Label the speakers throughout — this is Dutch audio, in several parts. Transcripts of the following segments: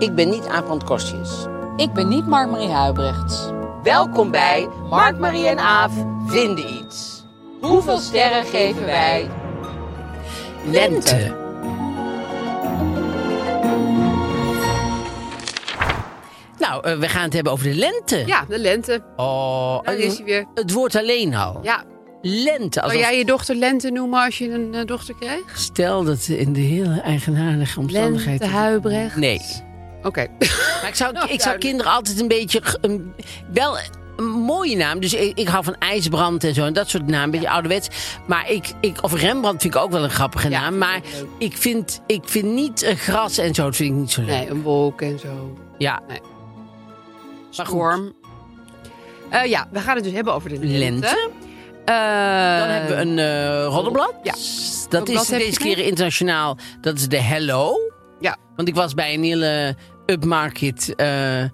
Speaker 1: Ik ben niet Aaf van Kostjes.
Speaker 2: Ik ben niet Mark-Marie Huibrechts.
Speaker 1: Welkom bij Mark, Marie en Aaf vinden iets. Hoeveel sterren geven wij? Lente. Nou, eh, we gaan het hebben over de lente.
Speaker 3: Ja, de lente.
Speaker 1: Oh,
Speaker 3: Daar
Speaker 1: eh,
Speaker 3: is hij weer.
Speaker 1: Het woord alleen al.
Speaker 3: Ja.
Speaker 1: Lente. Als
Speaker 3: Zou jij je dochter lente noemen als je een eh, dochter kreeg?
Speaker 1: Stel dat ze in de hele eigenaardige omstandigheid...
Speaker 3: Lente Huibrecht.
Speaker 1: Nee.
Speaker 3: Oké.
Speaker 1: Maar ik zou, ik zou
Speaker 3: Nou, duidelijk.
Speaker 1: kinderen altijd een beetje... g- een- wel een mooie naam. Dus ik, ik hou van IJsbrand en zo. En dat soort namen. Een beetje ouderwets. Maar ik, ik... Of Rembrandt vind ik ook wel een grappige
Speaker 3: Ja,
Speaker 1: naam.
Speaker 3: vind ik
Speaker 1: Maar
Speaker 3: ook
Speaker 1: ik vind, ik vind niet eh, gras en zo. Dat vind ik niet zo leuk.
Speaker 3: nee, een wolk en zo.
Speaker 1: Ja.
Speaker 3: Nee.
Speaker 1: Maar goed.
Speaker 3: Storm. Eh, ja, we gaan het dus hebben over de lente.
Speaker 1: Lente.
Speaker 3: Eh,
Speaker 1: Dan hebben we een eh roddelblad.
Speaker 3: Ja.
Speaker 1: Dat is
Speaker 3: Roddelblad heb
Speaker 1: deze
Speaker 3: je mee?
Speaker 1: keer internationaal. Dat is de Hello.
Speaker 3: Ja.
Speaker 1: Want ik was bij een hele upmarket eh, eh,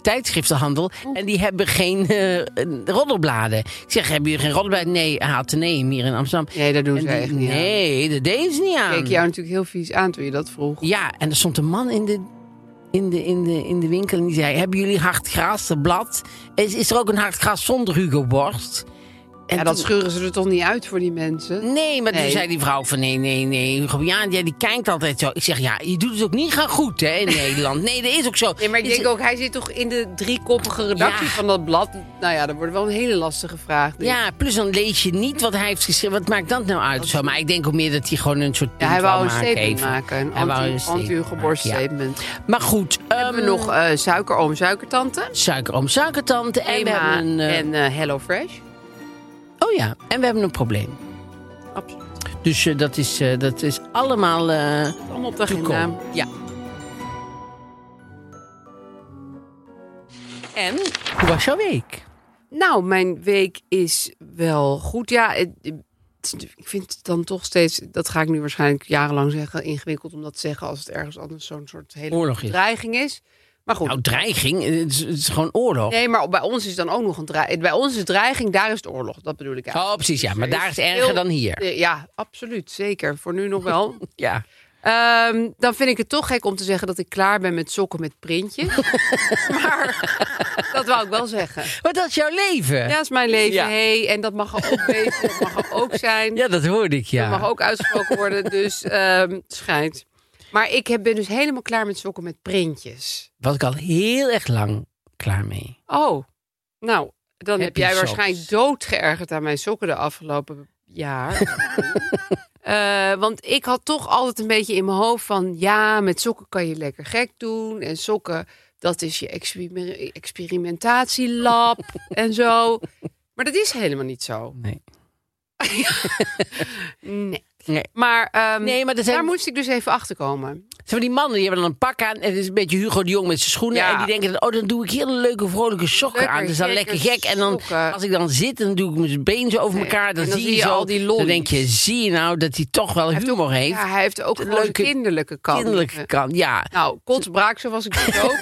Speaker 1: tijdschriftenhandel. En die hebben geen eh, roddelbladen. Ik zeg, hebben jullie geen roddelblad? Nee, HTNE hier in Amsterdam.
Speaker 3: Nee, dat doen
Speaker 1: En
Speaker 3: ze
Speaker 1: die-
Speaker 3: echt niet aan.
Speaker 1: Nee, dat deden ze niet
Speaker 3: Ik
Speaker 1: aan.
Speaker 3: keek jou natuurlijk heel vies aan toen je dat vroeg.
Speaker 1: Ja, en er stond een man in de, in de, in de, in de winkel en die zei... Hebben jullie hard gras, een blad? Is, is er ook een hard gras zonder Hugo Borst? En
Speaker 3: Ja, dat
Speaker 1: toen-
Speaker 3: scheuren ze er toch niet uit voor die mensen?
Speaker 1: Nee, maar toen
Speaker 3: Nee.
Speaker 1: zei die vrouw van nee, nee, nee. Hugo Borst, ja, die kijkt altijd zo. Ik zeg, ja, je doet het ook niet gaan goed, hè, in Nederland. Nee, dat is ook zo.
Speaker 3: Nee, maar ik
Speaker 1: Is-
Speaker 3: denk ook, hij zit toch in de driekoppige redactie
Speaker 1: Ja.
Speaker 3: van dat blad. Nou ja, dat wordt wel een hele lastige vraag. denk ik.
Speaker 1: Ja, plus dan lees je niet wat hij heeft geschreven. Wat maakt dat nou uit? of Zo, maar ik denk ook meer dat hij gewoon een soort.
Speaker 3: Ja,
Speaker 1: punt
Speaker 3: hij wou een
Speaker 1: maken
Speaker 3: statement
Speaker 1: even.
Speaker 3: maken. Een
Speaker 1: Hij wou
Speaker 3: anti-
Speaker 1: een statement
Speaker 3: anti-geborst
Speaker 1: maken, ja.
Speaker 3: statement.
Speaker 1: Maar goed,
Speaker 3: hebben
Speaker 1: ehm,
Speaker 3: we nog eh suikeroom, suikertante.
Speaker 1: suikeroom, suikertante. En we
Speaker 3: Ema
Speaker 1: hebben een. eh,
Speaker 3: en eh, Hello Fresh.
Speaker 1: Oh ja, en we hebben een probleem.
Speaker 3: Absoluut.
Speaker 1: Dus eh, dat, is, eh, dat is allemaal eh
Speaker 3: Allemaal op de agenda.
Speaker 1: toekomst. Ja. En, hoe was jouw week?
Speaker 3: Nou, mijn week is wel goed. Ja, het- het is natuurlijk- ik vind het dan toch steeds... Dat ga ik nu waarschijnlijk jarenlang zeggen. Ingewikkeld om dat te zeggen als het ergens anders zo'n soort hele
Speaker 1: Oorlog is.
Speaker 3: dreiging is. Maar goed.
Speaker 1: Nou, dreiging, eh, het is, het is gewoon oorlog.
Speaker 3: Nee, maar bij ons is dan ook nog een dreiging. Bij ons is dreiging, daar is het oorlog. Dat bedoel ik eigenlijk.
Speaker 1: Oh, precies, ja. Maar
Speaker 3: Er
Speaker 1: daar is
Speaker 3: veel-
Speaker 1: erger dan hier.
Speaker 3: Eh, Ja, absoluut. Zeker. Voor nu nog wel.
Speaker 1: Ja.
Speaker 3: Ehm, dan vind ik het toch gek om te zeggen dat ik klaar ben met sokken met printjes. maar dat wou ik wel zeggen.
Speaker 1: Maar dat is jouw leven.
Speaker 3: Ja, is mijn leven.
Speaker 1: Ja.
Speaker 3: Hey, en dat mag er ook wezen. Dat mag er ook zijn.
Speaker 1: Ja, dat hoorde ik, ja.
Speaker 3: Dat mag ook uitgesproken worden. Dus ehm schijnt. Maar ik heb- ben dus helemaal klaar met sokken met printjes.
Speaker 1: Was ik al heel erg lang klaar mee.
Speaker 3: Oh, nou, dan
Speaker 1: Happy
Speaker 3: heb jij
Speaker 1: socks.
Speaker 3: waarschijnlijk doodgeërgerd aan mijn sokken de afgelopen jaar. Eh, want ik had toch altijd een beetje in mijn hoofd van... ja, met sokken kan je lekker gek doen. En sokken, dat is je exper- experimentatielab en zo. Maar dat is helemaal niet zo.
Speaker 1: Nee.
Speaker 3: Nee.
Speaker 1: Nee.
Speaker 3: Maar ehm,
Speaker 1: Nee, maar er zijn-
Speaker 3: daar moest ik dus even achter komen.
Speaker 1: Zeg maar, die mannen die hebben dan een pak aan. En het is een beetje Hugo de Jong met zijn schoenen.
Speaker 3: Ja.
Speaker 1: En die denken, dan, oh, dan doe ik hele leuke, vrolijke sokken
Speaker 3: Leuke,
Speaker 1: aan. Dat is dan
Speaker 3: gekke
Speaker 1: lekker gek. En dan,
Speaker 3: sokken.
Speaker 1: als ik dan zit, dan doe ik mijn been zo over
Speaker 3: Nee.
Speaker 1: elkaar. Dan,
Speaker 3: En dan
Speaker 1: zie
Speaker 3: zie je
Speaker 1: zo-
Speaker 3: al die
Speaker 1: Dan
Speaker 3: lollies.
Speaker 1: denk je, zie je nou dat hij toch wel humor heeft.
Speaker 3: Ja, hij heeft ook
Speaker 1: De
Speaker 3: gewoon een
Speaker 1: leuke
Speaker 3: kinderlijke kant.
Speaker 1: Kinderlijk kan, ja.
Speaker 3: Nou, kotsbraak, zo was ik dus ook.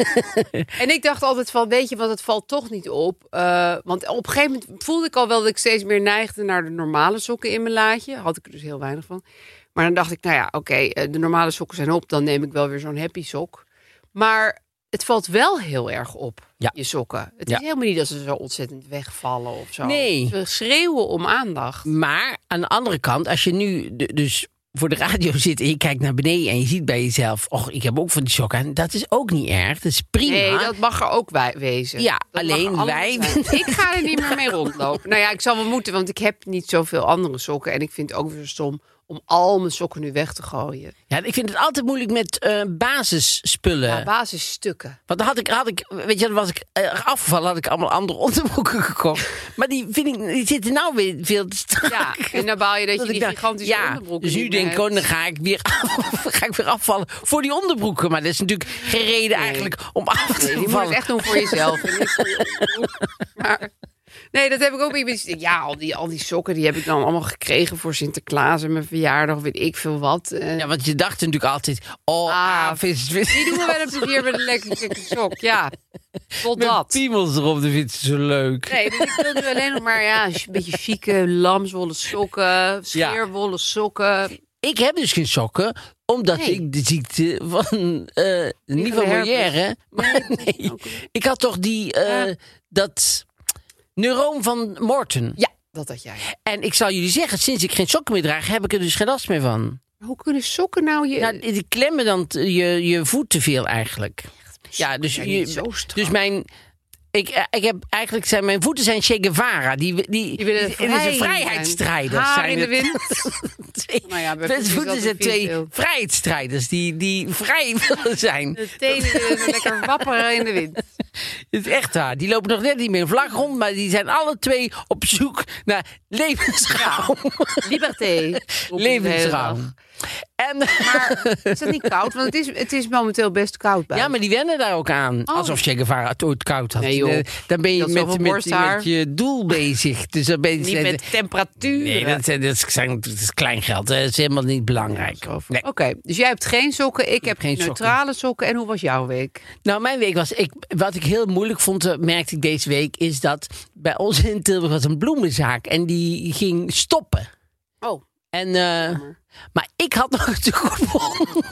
Speaker 3: en ik dacht altijd van, weet je, want het valt toch niet op. Eh, want op een gegeven moment voelde ik al wel dat ik steeds meer neigde naar de normale sokken in mijn laadje. Had ik er dus heel weinig van. Maar dan dacht ik, nou ja, oké, eh, de normale sokken zijn op. Dan neem ik wel weer zo'n happy sok. Maar het valt wel heel erg op,
Speaker 1: Ja.
Speaker 3: je sokken. Het
Speaker 1: Ja.
Speaker 3: is helemaal niet dat ze zo ontzettend wegvallen of zo.
Speaker 1: Nee.
Speaker 3: Ze schreeuwen om aandacht.
Speaker 1: Maar aan de andere kant, als je nu d- dus voor de radio zit en je kijkt naar beneden en je ziet bij jezelf, och, ik heb ook van die sokken aan. Dat is ook niet erg. Dat is prima.
Speaker 3: Nee, dat mag er ook wij wezen.
Speaker 1: Ja,
Speaker 3: Dat mag
Speaker 1: alleen
Speaker 3: er allemaal
Speaker 1: wij-
Speaker 3: zijn. Ik ga er niet meer mee rondlopen. Nou ja, ik zal wel moeten, want ik heb niet zoveel andere sokken. En ik vind het ook weer stom om al mijn sokken nu weg te gooien.
Speaker 1: Ja, ik vind het altijd moeilijk met eh, basisspullen.
Speaker 3: Ja, basisstukken.
Speaker 1: Want dan had ik, had ik, weet je, dan was ik eh, afgevallen, had ik allemaal andere onderbroeken gekocht. Maar die, vind ik, die zitten nou weer veel te strak.
Speaker 3: Ja, en dan baal je dat,
Speaker 1: Dat
Speaker 3: je
Speaker 1: ik
Speaker 3: die
Speaker 1: dacht,
Speaker 3: gigantische
Speaker 1: ja,
Speaker 3: onderbroeken
Speaker 1: Dus nu
Speaker 3: niet
Speaker 1: denk
Speaker 3: meer
Speaker 1: ik, oh,
Speaker 3: hebt.
Speaker 1: dan ga ik, weer af- ga ik weer afvallen voor die onderbroeken. Maar dat is natuurlijk geen reden eigenlijk om af te
Speaker 3: Nee, die moet je
Speaker 1: vallen.
Speaker 3: het echt doen voor jezelf. en niet voor je onderbroek. maar, nee, dat heb ik ook. niet. Ik ben- Ja, al die, al die sokken die heb ik dan allemaal gekregen voor Sinterklaas en mijn verjaardag, weet ik veel wat. En-
Speaker 1: Ja, want je dacht natuurlijk altijd, oh,
Speaker 3: Ah,
Speaker 1: ah, vis, vis.
Speaker 3: Die doen we wel eens een keer met een lekker dikke sok. Ja, tot
Speaker 1: Met
Speaker 3: dat.
Speaker 1: piemels erop, dat vindt ze zo leuk.
Speaker 3: Nee, dus ik wil nu alleen nog maar ja, een beetje chique lamswollen sokken, scheerwollen sokken.
Speaker 1: Ik heb dus geen sokken, omdat
Speaker 3: Nee.
Speaker 1: ik de ziekte van, eh niet van
Speaker 3: van herpes.
Speaker 1: Molière, maar nee. Ik had toch die, eh,
Speaker 3: Ja.
Speaker 1: dat neuroom van Morten.
Speaker 3: Ja, dat had jij.
Speaker 1: En ik zal jullie zeggen, sinds ik geen sokken meer draag, heb ik er dus geen last meer van.
Speaker 3: Hoe kunnen sokken nou je...
Speaker 1: Nou, die klemmen dan t- je, je voet te veel eigenlijk. Ja, dus,
Speaker 3: zijn
Speaker 1: je,
Speaker 3: niet zo strak.
Speaker 1: dus mijn... Ik, eh, ik heb eigenlijk zijn mijn voeten zijn Che Guevara. Die, die,
Speaker 3: Die willen
Speaker 1: het is
Speaker 3: vrij
Speaker 1: een
Speaker 3: zijn.
Speaker 1: vrijheidsstrijder.
Speaker 3: Haar
Speaker 1: zijn
Speaker 3: in de
Speaker 1: het.
Speaker 3: wind.
Speaker 1: twee,
Speaker 3: Nou ja, bij
Speaker 1: mijn
Speaker 3: voeten is dat
Speaker 1: voeten
Speaker 3: een
Speaker 1: zijn twee
Speaker 3: vierkant.
Speaker 1: vrijheidsstrijders die, die vrij willen zijn.
Speaker 3: de tenen willen zo lekker wapperen in de wind.
Speaker 1: Het is echt waar. Die lopen nog net niet meer een vlag rond, maar die zijn alle twee op zoek naar levensrouw.
Speaker 3: Liberté.
Speaker 1: levensrouw. En,
Speaker 3: Maar Ah, is dat niet koud? Want het is, het is momenteel best koud bij.
Speaker 1: ja, maar die wennen daar ook aan. Alsof Che Guevara het ooit koud had.
Speaker 3: Oh. Nee, joh.
Speaker 1: Eh, Dan ben je
Speaker 3: Dat is
Speaker 1: met,
Speaker 3: zoveel
Speaker 1: met,
Speaker 3: borsthaar.
Speaker 1: met je doel bezig. Dus dan ben je
Speaker 3: Niet met temperatuur.
Speaker 1: Nee, dat, zijn- dat, zijn, dat is kleingeld. Dat is helemaal niet belangrijk. Nee.
Speaker 3: Oké, dus jij hebt geen sokken, ik heb
Speaker 1: geen
Speaker 3: geen
Speaker 1: sokken.
Speaker 3: neutrale sokken. En hoe was jouw week?
Speaker 1: Nou, mijn week was. Ik, wat ik heel moeilijk vond, eh, merkte ik deze week, is dat bij ons in Tilburg was een bloemenzaak en die ging stoppen.
Speaker 3: Oh,
Speaker 1: En, eh, maar ik had nog een tegoedbon.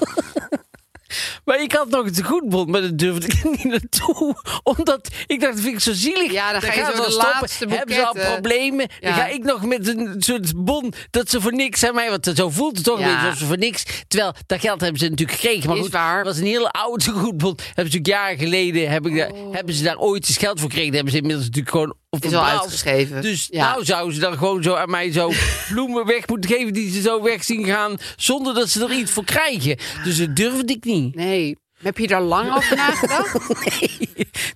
Speaker 1: maar ik had nog een tegoedbon, maar daar durfde ik niet naartoe. Omdat ik dacht, dat vind ik zo zielig.
Speaker 3: Ja, dan ga je
Speaker 1: gaan
Speaker 3: zo
Speaker 1: ze al
Speaker 3: de
Speaker 1: stoppen,
Speaker 3: laatste
Speaker 1: Hebben ze al
Speaker 3: boeketten.
Speaker 1: problemen? Dan
Speaker 3: Ja.
Speaker 1: ga ik nog met een soort bon dat ze voor niks aan mij... Want zo voelt het toch
Speaker 3: Ja.
Speaker 1: een beetje alsof ze voor niks... Terwijl, dat geld hebben ze natuurlijk gekregen. Maar
Speaker 3: Is
Speaker 1: goed,
Speaker 3: waar.
Speaker 1: het was een hele oude tegoedbon. Hebben ze natuurlijk jaren geleden... Heb ik daar, hebben ze daar ooit eens geld voor gekregen. Daar hebben ze inmiddels natuurlijk gewoon...
Speaker 3: Oh. is al
Speaker 1: verbrand.
Speaker 3: uitgeschreven.
Speaker 1: Dus
Speaker 3: Ja.
Speaker 1: nou zouden ze dan gewoon zo aan mij zo bloemen weg moeten geven die ze zo weg zien gaan zonder dat ze er iets voor krijgen. Dus dat durfde ik niet.
Speaker 3: Nee. Heb je daar lang over nagedacht?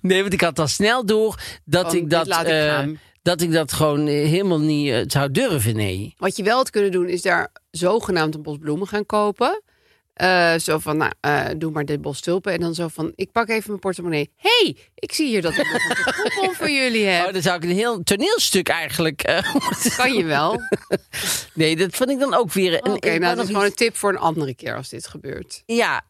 Speaker 1: Nee, want ik had al snel door dat
Speaker 3: Van,
Speaker 1: ik
Speaker 3: Oh, dit
Speaker 1: dat,
Speaker 3: laat ik
Speaker 1: eh,
Speaker 3: gaan.
Speaker 1: dat ik dat gewoon eh, helemaal niet eh, zou durven. Nee.
Speaker 3: Wat je wel had kunnen doen, is daar zogenaamd een bos bloemen gaan kopen. Eh, zo van, nou, eh, doe maar dit bos tulpen. En dan zo van, ik pak even mijn portemonnee. hey, ik zie hier dat ik nog een coupon voor jullie
Speaker 1: Oh,
Speaker 3: heb.
Speaker 1: dan zou ik een heel toneelstuk eigenlijk. eh, moeten-
Speaker 3: Kan je wel. Oké,
Speaker 1: nee, dat vond ik dan ook weer. een- ik wou
Speaker 3: nou,
Speaker 1: nog
Speaker 3: dat is
Speaker 1: iets-
Speaker 3: gewoon een tip voor een andere keer als dit gebeurt.
Speaker 1: Ja.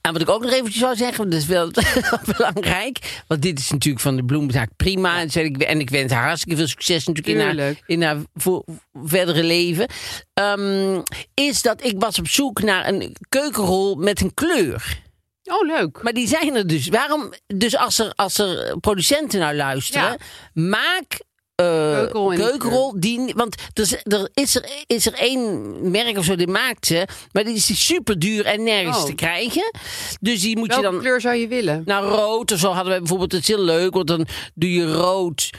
Speaker 1: En wat ik ook nog eventjes zou zeggen, want dat is wel belangrijk. Want dit is natuurlijk van de bloemzaak prima. En, zei ik, en ik wens haar hartstikke veel succes natuurlijk in haar,
Speaker 3: Tuurlijk.
Speaker 1: in haar vo- verdere leven. Ehm, is dat ik was op zoek naar een keukenrol met een kleur.
Speaker 3: Oh, leuk.
Speaker 1: Maar die zijn er dus. Waarom? Dus als er, als er producenten nou luisteren, maak. eh,
Speaker 3: Keukenrol in de
Speaker 1: keukenrol die want er, is- er is er is er één merk of zo die maakt ze maar die is super duur en nergens
Speaker 3: Oh.
Speaker 1: te krijgen dus die moet
Speaker 3: Welke
Speaker 1: je dan
Speaker 3: kleur zou je willen?
Speaker 1: naar rood of zo hadden we bijvoorbeeld het is heel leuk want dan doe je rood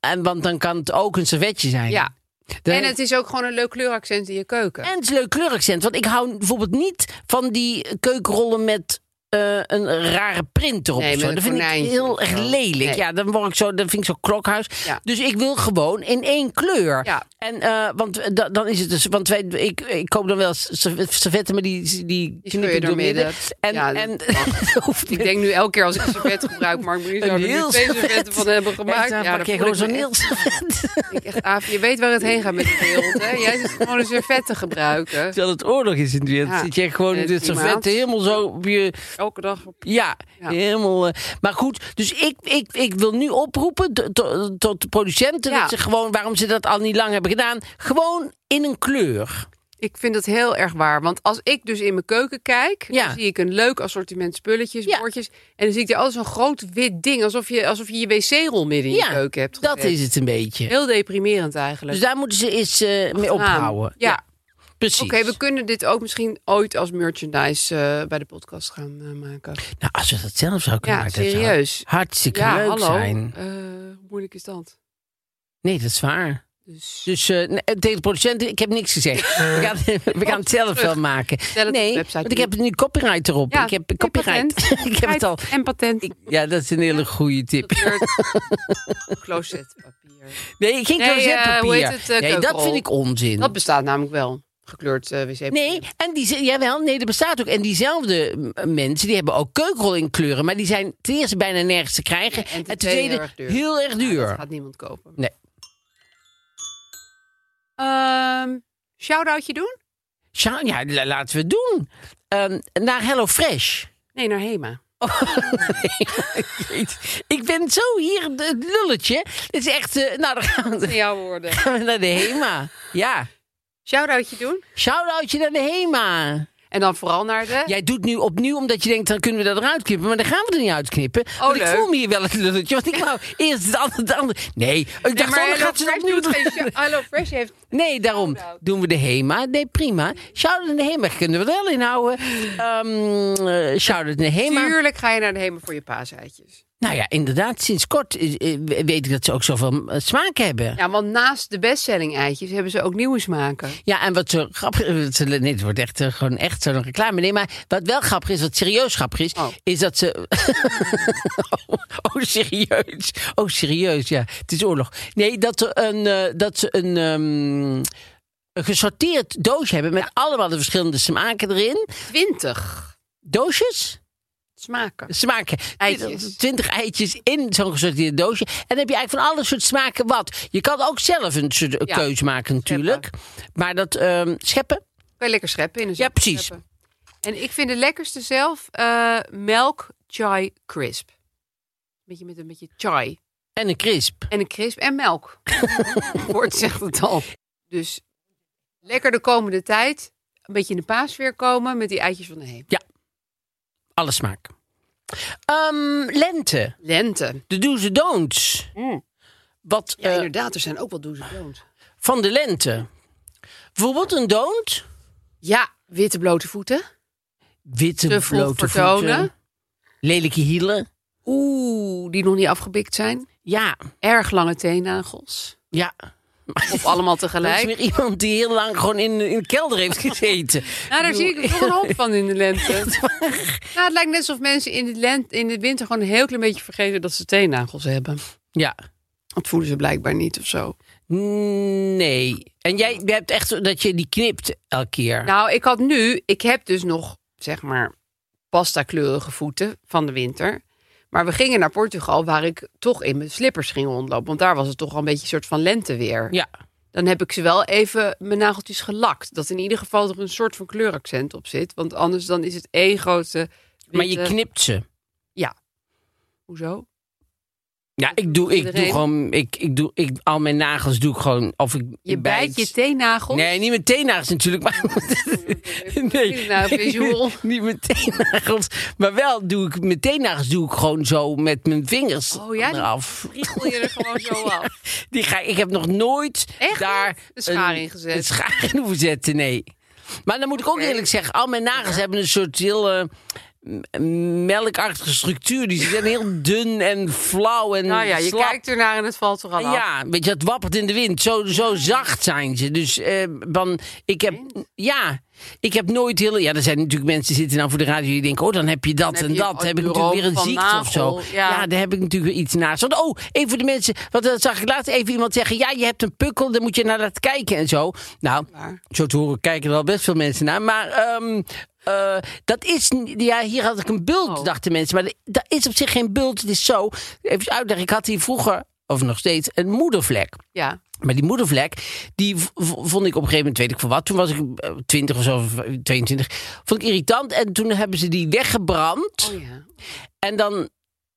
Speaker 1: en want dan kan het ook een servetje zijn
Speaker 3: ja.
Speaker 1: Dan-
Speaker 3: En het is ook gewoon een leuk kleuraccent in je keuken.
Speaker 1: en het is een leuk kleuraccent. Want ik hou bijvoorbeeld niet van die keukenrollen met eh, een rare print erop.
Speaker 3: Nee,
Speaker 1: of zo.
Speaker 3: met een
Speaker 1: dat vind ik
Speaker 3: konijntje
Speaker 1: heel
Speaker 3: of
Speaker 1: erg
Speaker 3: zo.
Speaker 1: lelijk.
Speaker 3: Nee.
Speaker 1: Ja, dan word ik zo, dan vind ik zo klokhuis.
Speaker 3: Ja.
Speaker 1: Dus ik wil gewoon in één kleur.
Speaker 3: Ja.
Speaker 1: En, eh, want da- dan is het dus, want wij, ik, ik koop dan wel serv- servetten, maar die, die,
Speaker 3: Die scheur
Speaker 1: door
Speaker 3: je doormidden.
Speaker 1: midden. En,
Speaker 3: Ja, dat
Speaker 1: en
Speaker 3: mag.
Speaker 1: dat hoeft
Speaker 3: Ik
Speaker 1: niet.
Speaker 3: denk nu elke keer als ik een servet gebruik, Mark Marie zou er
Speaker 1: Een heel
Speaker 3: nu twee servetten
Speaker 1: servet.
Speaker 3: van hebben gemaakt.
Speaker 1: Echt, dan pak
Speaker 3: daar
Speaker 1: je
Speaker 3: voel
Speaker 1: gewoon
Speaker 3: ik me
Speaker 1: zo'n heel
Speaker 3: echt-
Speaker 1: servet.
Speaker 3: ik echt af. Je weet waar het heen gaat met de wereld, hè? Jij zit gewoon een servet te gebruiken.
Speaker 1: Terwijl het oorlog is in de wereld,
Speaker 3: Ja.
Speaker 1: zit je gewoon
Speaker 3: Eh,
Speaker 1: de
Speaker 3: klimaat.
Speaker 1: servetten helemaal zo op je...
Speaker 3: Elke dag op
Speaker 1: Ja,
Speaker 3: Ja.
Speaker 1: helemaal. eh, maar goed, dus ik, ik, ik wil nu oproepen to- to- tot de producenten
Speaker 3: Ja.
Speaker 1: dat ze gewoon, waarom ze dat al niet lang hebben gedaan, gewoon in een kleur.
Speaker 3: Ik vind dat heel erg waar. Want als ik dus in mijn keuken kijk,
Speaker 1: Ja.
Speaker 3: dan zie ik een leuk assortiment spulletjes,
Speaker 1: Ja.
Speaker 3: bordjes. En dan zie ik er altijd zo'n groot wit ding, alsof je alsof je, je wc-rol midden in
Speaker 1: Ja,
Speaker 3: je keuken hebt
Speaker 1: Dat
Speaker 3: gezet.
Speaker 1: is het een beetje.
Speaker 3: Heel deprimerend eigenlijk.
Speaker 1: Dus daar moeten ze eens eh, mee
Speaker 3: Naam.
Speaker 1: ophouden.
Speaker 3: Ja,
Speaker 1: precies.
Speaker 3: oké. we kunnen dit ook misschien ooit als merchandise eh, bij de podcast gaan eh, maken.
Speaker 1: Nou, als we dat zelf zouden kunnen
Speaker 3: Ja,
Speaker 1: maken, dat zou
Speaker 3: serieus.
Speaker 1: hartstikke
Speaker 3: ja,
Speaker 1: leuk
Speaker 3: hallo.
Speaker 1: zijn.
Speaker 3: Eh, hoe moeilijk is dat?
Speaker 1: Nee, dat is waar.
Speaker 3: Dus
Speaker 1: Dus eh, nee, tegen de producenten, ik heb niks gezegd. We gaan, we gaan het zelf wel maken.
Speaker 3: het op de
Speaker 1: Nee,
Speaker 3: website
Speaker 1: want ik
Speaker 3: niet.
Speaker 1: heb nu copyright erop.
Speaker 3: Ja,
Speaker 1: ik heb
Speaker 3: nee,
Speaker 1: copyright.
Speaker 3: patent.
Speaker 1: ik heb het al.
Speaker 3: En patent. Ik
Speaker 1: Ja, dat is een hele goede tip.
Speaker 3: Closetpapier.
Speaker 1: Nee, geen
Speaker 3: Nee, eh,
Speaker 1: closetpapier.
Speaker 3: hoe heet het, eh,
Speaker 1: nee, dat
Speaker 3: keukenrol?
Speaker 1: vind ik onzin.
Speaker 3: Dat bestaat namelijk wel. Gekleurd eh, wc-papier.
Speaker 1: Mm. Nee, en die, ze- jawel, nee, dat bestaat ook. En diezelfde m, mensen, die hebben ook keukenrol in kleuren. Maar die zijn ten eerste bijna nergens te krijgen.
Speaker 3: Nee, en ten tweede heel erg duur.
Speaker 1: heel erg
Speaker 3: Ja,
Speaker 1: duur.
Speaker 3: dat gaat niemand kopen.
Speaker 1: Nee.
Speaker 3: Ehm shout-outje doen?
Speaker 1: Sja, ja, la- laten we het doen. Ehm, naar HelloFresh.
Speaker 3: Nee, naar Hema.
Speaker 1: ik ben zo hier de- het lulletje. Het is echt, eh, nou, dan gaan we,
Speaker 3: jouw woorden.
Speaker 1: gaan we naar de HEMA. Ja,
Speaker 3: Shout-outje doen?
Speaker 1: shout-outje naar de HEMA.
Speaker 3: En dan vooral naar de...
Speaker 1: Jij doet nu opnieuw omdat je denkt, dan kunnen we dat eruit knippen. Maar dan gaan we er niet uitknippen.
Speaker 3: Oh,
Speaker 1: want ik
Speaker 3: leuk.
Speaker 1: voel me hier wel het lulletje. Want ik wou eerst het andere, het andere. Nee, ik dacht, oh, dan gaat ze dat opnieuw doen.
Speaker 3: Hello Fresh heeft...
Speaker 1: Nee, daarom
Speaker 3: Shout-out.
Speaker 1: doen we de HEMA. Nee, prima. Shout-out in de HEMA. Kunnen we er wel inhouden. Ehm eh, Shout-out in de HEMA.
Speaker 3: Tuurlijk ga je naar de Hema voor je paaseitjes.
Speaker 1: Nou ja, inderdaad. Sinds kort eh, eh, weet ik dat ze ook zoveel eh, smaak hebben.
Speaker 3: Ja, want naast de bestselling eitjes hebben ze ook nieuwe smaken.
Speaker 1: Ja, en wat zo grappig... eh, wat ze- Nee, het wordt echt eh, gewoon echt zo'n reclame. Nee, maar wat wel grappig is, wat serieus grappig is...
Speaker 3: Oh.
Speaker 1: is dat ze... oh, oh, serieus. Oh, serieus, ja. Het is oorlog. Nee, dat, er een, eh, dat ze een... ehm, een gesorteerd doosje hebben met allemaal de verschillende smaken erin.
Speaker 3: Twintig
Speaker 1: Doosjes?
Speaker 3: smaken.
Speaker 1: smaken.
Speaker 3: Eitjes.
Speaker 1: Twintig eitjes in zo'n gesorteerd doosje. En dan heb je eigenlijk van alle soort smaken wat. Je kan ook zelf een soort
Speaker 3: Ja.
Speaker 1: keuze maken natuurlijk. Maar dat ehm, scheppen.
Speaker 3: Kan je lekker scheppen in een
Speaker 1: Ja,
Speaker 3: zak
Speaker 1: precies.
Speaker 3: scheppen. En ik vind de lekkerste zelf eh, melk chai crisp. Beetje met een beetje chai.
Speaker 1: En een crisp.
Speaker 3: En een crisp en melk. Woord zegt het al. Dus lekker de komende tijd. Een beetje in de paasfeer komen met die eitjes van de heen.
Speaker 1: Alle smaak. Ehm, lente.
Speaker 3: Lente.
Speaker 1: De do's en don'ts. Wat
Speaker 3: Mm. Ja,
Speaker 1: eh,
Speaker 3: inderdaad. Er zijn ook wel do's en don'ts.
Speaker 1: van de lente. Bijvoorbeeld een don't.
Speaker 3: Ja, witte blote voeten.
Speaker 1: Witte
Speaker 3: Te vroeg
Speaker 1: blote
Speaker 3: vertonen.
Speaker 1: voeten. Lelijke hielen.
Speaker 3: Oeh, die nog niet afgebikt zijn.
Speaker 1: Ja.
Speaker 3: Erg lange teennagels.
Speaker 1: Ja.
Speaker 3: Of allemaal
Speaker 1: Dat is
Speaker 3: tegelijk.
Speaker 1: weer iemand die heel lang gewoon in, in de kelder heeft gezeten.
Speaker 3: Nou, daar zie ik er toch een hoop van in de lente. Nou, het lijkt net alsof mensen in de, lente, in de winter gewoon een heel klein beetje vergeten dat ze teennagels hebben.
Speaker 1: Ja.
Speaker 3: Dat voelen ze blijkbaar niet of zo.
Speaker 1: Nee. En jij jij hebt echt zo dat je die knipt elke keer.
Speaker 3: Nou, ik had nu, ik heb dus nog, zeg maar, pasta kleurige voeten van de winter. Maar we gingen naar Portugal, waar ik toch in mijn slippers ging rondlopen. Want daar was het toch al een beetje een soort van lenteweer.
Speaker 1: ja.
Speaker 3: Dan heb ik ze wel even mijn nageltjes gelakt. Dat in ieder geval er een soort van kleuraccent op zit. Want anders dan is het één grote...
Speaker 1: Maar je
Speaker 3: witte-
Speaker 1: knipt ze.
Speaker 3: Hoezo?
Speaker 1: Ja, Nou, ik doe, ik doe
Speaker 3: Iedereen?
Speaker 1: gewoon, ik, ik doe, ik, al mijn nagels doe ik gewoon, of ik
Speaker 3: Je
Speaker 1: ik
Speaker 3: bijt je Oh, teennagels?
Speaker 1: Nee, niet mijn teennagels natuurlijk, maar... nee,
Speaker 3: Nou, visual.
Speaker 1: niet mijn teennagels. Maar wel doe ik, mijn teennagels doe ik gewoon zo met mijn vingers
Speaker 3: Oh ja, die
Speaker 1: eraf.
Speaker 3: Riegel je er gewoon zo af.
Speaker 1: Die ga, ik heb nog nooit
Speaker 3: Echt
Speaker 1: daar
Speaker 3: niet? Een schaar in gezet?
Speaker 1: Een schaar in hoeven zetten, nee. Maar dan moet ik ook eerlijk zeggen, al mijn nagels hebben een soort heel eh, m- melkachtige structuur. Die zijn heel dun en flauw en
Speaker 3: Nou ja, je
Speaker 1: slap.
Speaker 3: kijkt ernaar en het valt er al af.
Speaker 1: Ja, weet je, het wappert in de wind. Zo, zo zacht zijn ze. Dus eh, dan, ik heb, ja, Ik heb nooit heel... Ja, er zijn natuurlijk mensen die zitten nou voor de radio die denken... oh, dan heb je dat
Speaker 3: heb
Speaker 1: en
Speaker 3: je
Speaker 1: dat.
Speaker 3: een
Speaker 1: heb ik natuurlijk weer een
Speaker 3: bureau
Speaker 1: ziekte
Speaker 3: van
Speaker 1: of zo.
Speaker 3: nagel,
Speaker 1: Ja.
Speaker 3: ja.
Speaker 1: daar heb ik natuurlijk weer iets naast. Want, oh, even voor de mensen... Want dat zag ik laatst even iemand zeggen... ja, je hebt een pukkel, dan moet je naar laten kijken en zo. Nou,
Speaker 3: Waar?
Speaker 1: zo te horen kijken er al best veel mensen naar. Maar ehm, eh, dat is... n- Ja, hier had ik een bult,
Speaker 3: Oh.
Speaker 1: dachten mensen. Maar dat is op zich geen bult. Het is zo... Even uitleggen, ik had hier vroeger, of nog steeds, een moedervlek.
Speaker 3: Ja.
Speaker 1: Maar die moedervlek, die v- v- vond ik op een gegeven moment, weet ik voor wat, toen was ik eh, 20 of zo, of 22, vond ik irritant. En toen hebben ze die weggebrand.
Speaker 3: Oh ja.
Speaker 1: En dan,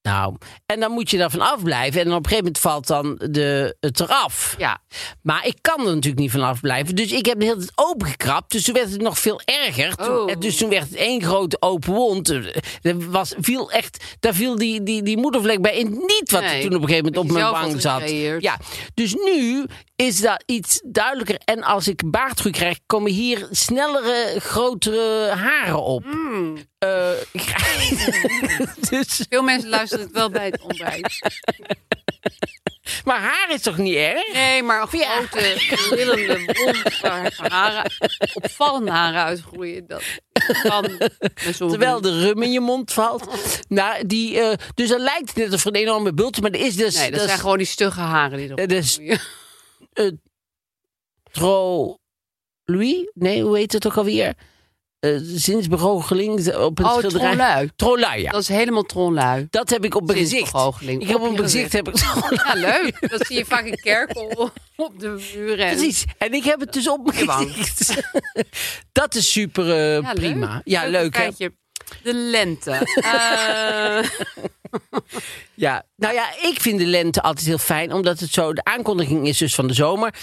Speaker 1: nou, en dan moet je daarvan afblijven. En dan op een gegeven moment valt dan de, het eraf.
Speaker 3: Ja.
Speaker 1: Maar ik kan er natuurlijk niet van afblijven. Dus ik heb de hele tijd opengekrapt. Dus toen werd het nog veel erger. Toen-
Speaker 3: Oh.
Speaker 1: en Dus toen werd het één grote open wond. Eh, Er was, viel echt, daar viel die, die, die moedervlek bij in niet wat
Speaker 3: Nee,
Speaker 1: er toen op een gegeven moment
Speaker 3: wat
Speaker 1: op
Speaker 3: je
Speaker 1: mijn
Speaker 3: zelf had
Speaker 1: wang zat.
Speaker 3: gecreëerd.
Speaker 1: Ja, dus nu is dat iets duidelijker. En als ik baardgroei krijg, komen hier snellere, grotere haren op.
Speaker 3: Hmm.
Speaker 1: Eh, dus,
Speaker 3: Veel mensen luisteren het wel bij het ontbijt.
Speaker 1: maar haar is toch niet erg?
Speaker 3: Nee, maar een grote, rillende wond waar haren, opvallende haren uitgroeien. Dat kan bij sommigen.
Speaker 1: Terwijl de rum in je mond valt. Nou, die, eh, dus dat lijkt net of een enorme bult, maar er is Eh, dus...
Speaker 3: Nee, dat
Speaker 1: dus-
Speaker 3: zijn gewoon die stugge haren die
Speaker 1: eh,
Speaker 3: erop
Speaker 1: dus
Speaker 3: groeien.
Speaker 1: tro... Louis? Nee, hoe heet het ook alweer? Eh zinsbegoocheling op een
Speaker 3: Oh,
Speaker 1: schilderij.
Speaker 3: trolui.
Speaker 1: Trolui, ja.
Speaker 3: Dat is helemaal tronlui.
Speaker 1: Dat heb ik op mijn gezicht.
Speaker 3: Zinsbegoocheling.
Speaker 1: Ik heb op
Speaker 3: Op je
Speaker 1: mijn gezicht heb ik trolui.
Speaker 3: Ja, leuk. Dat zie je vaak in kerken op de muren. en-
Speaker 1: Precies. En ik heb het dus op mijn
Speaker 3: Je wang.
Speaker 1: gezicht. Dat is super eh,
Speaker 3: Ja,
Speaker 1: prima.
Speaker 3: leuk.
Speaker 1: Ja, leuk hè?
Speaker 3: feitje. De lente. Eh,
Speaker 1: Ja, nou ja, ik vind de lente altijd heel fijn, omdat het zo de aankondiging is dus van de zomer.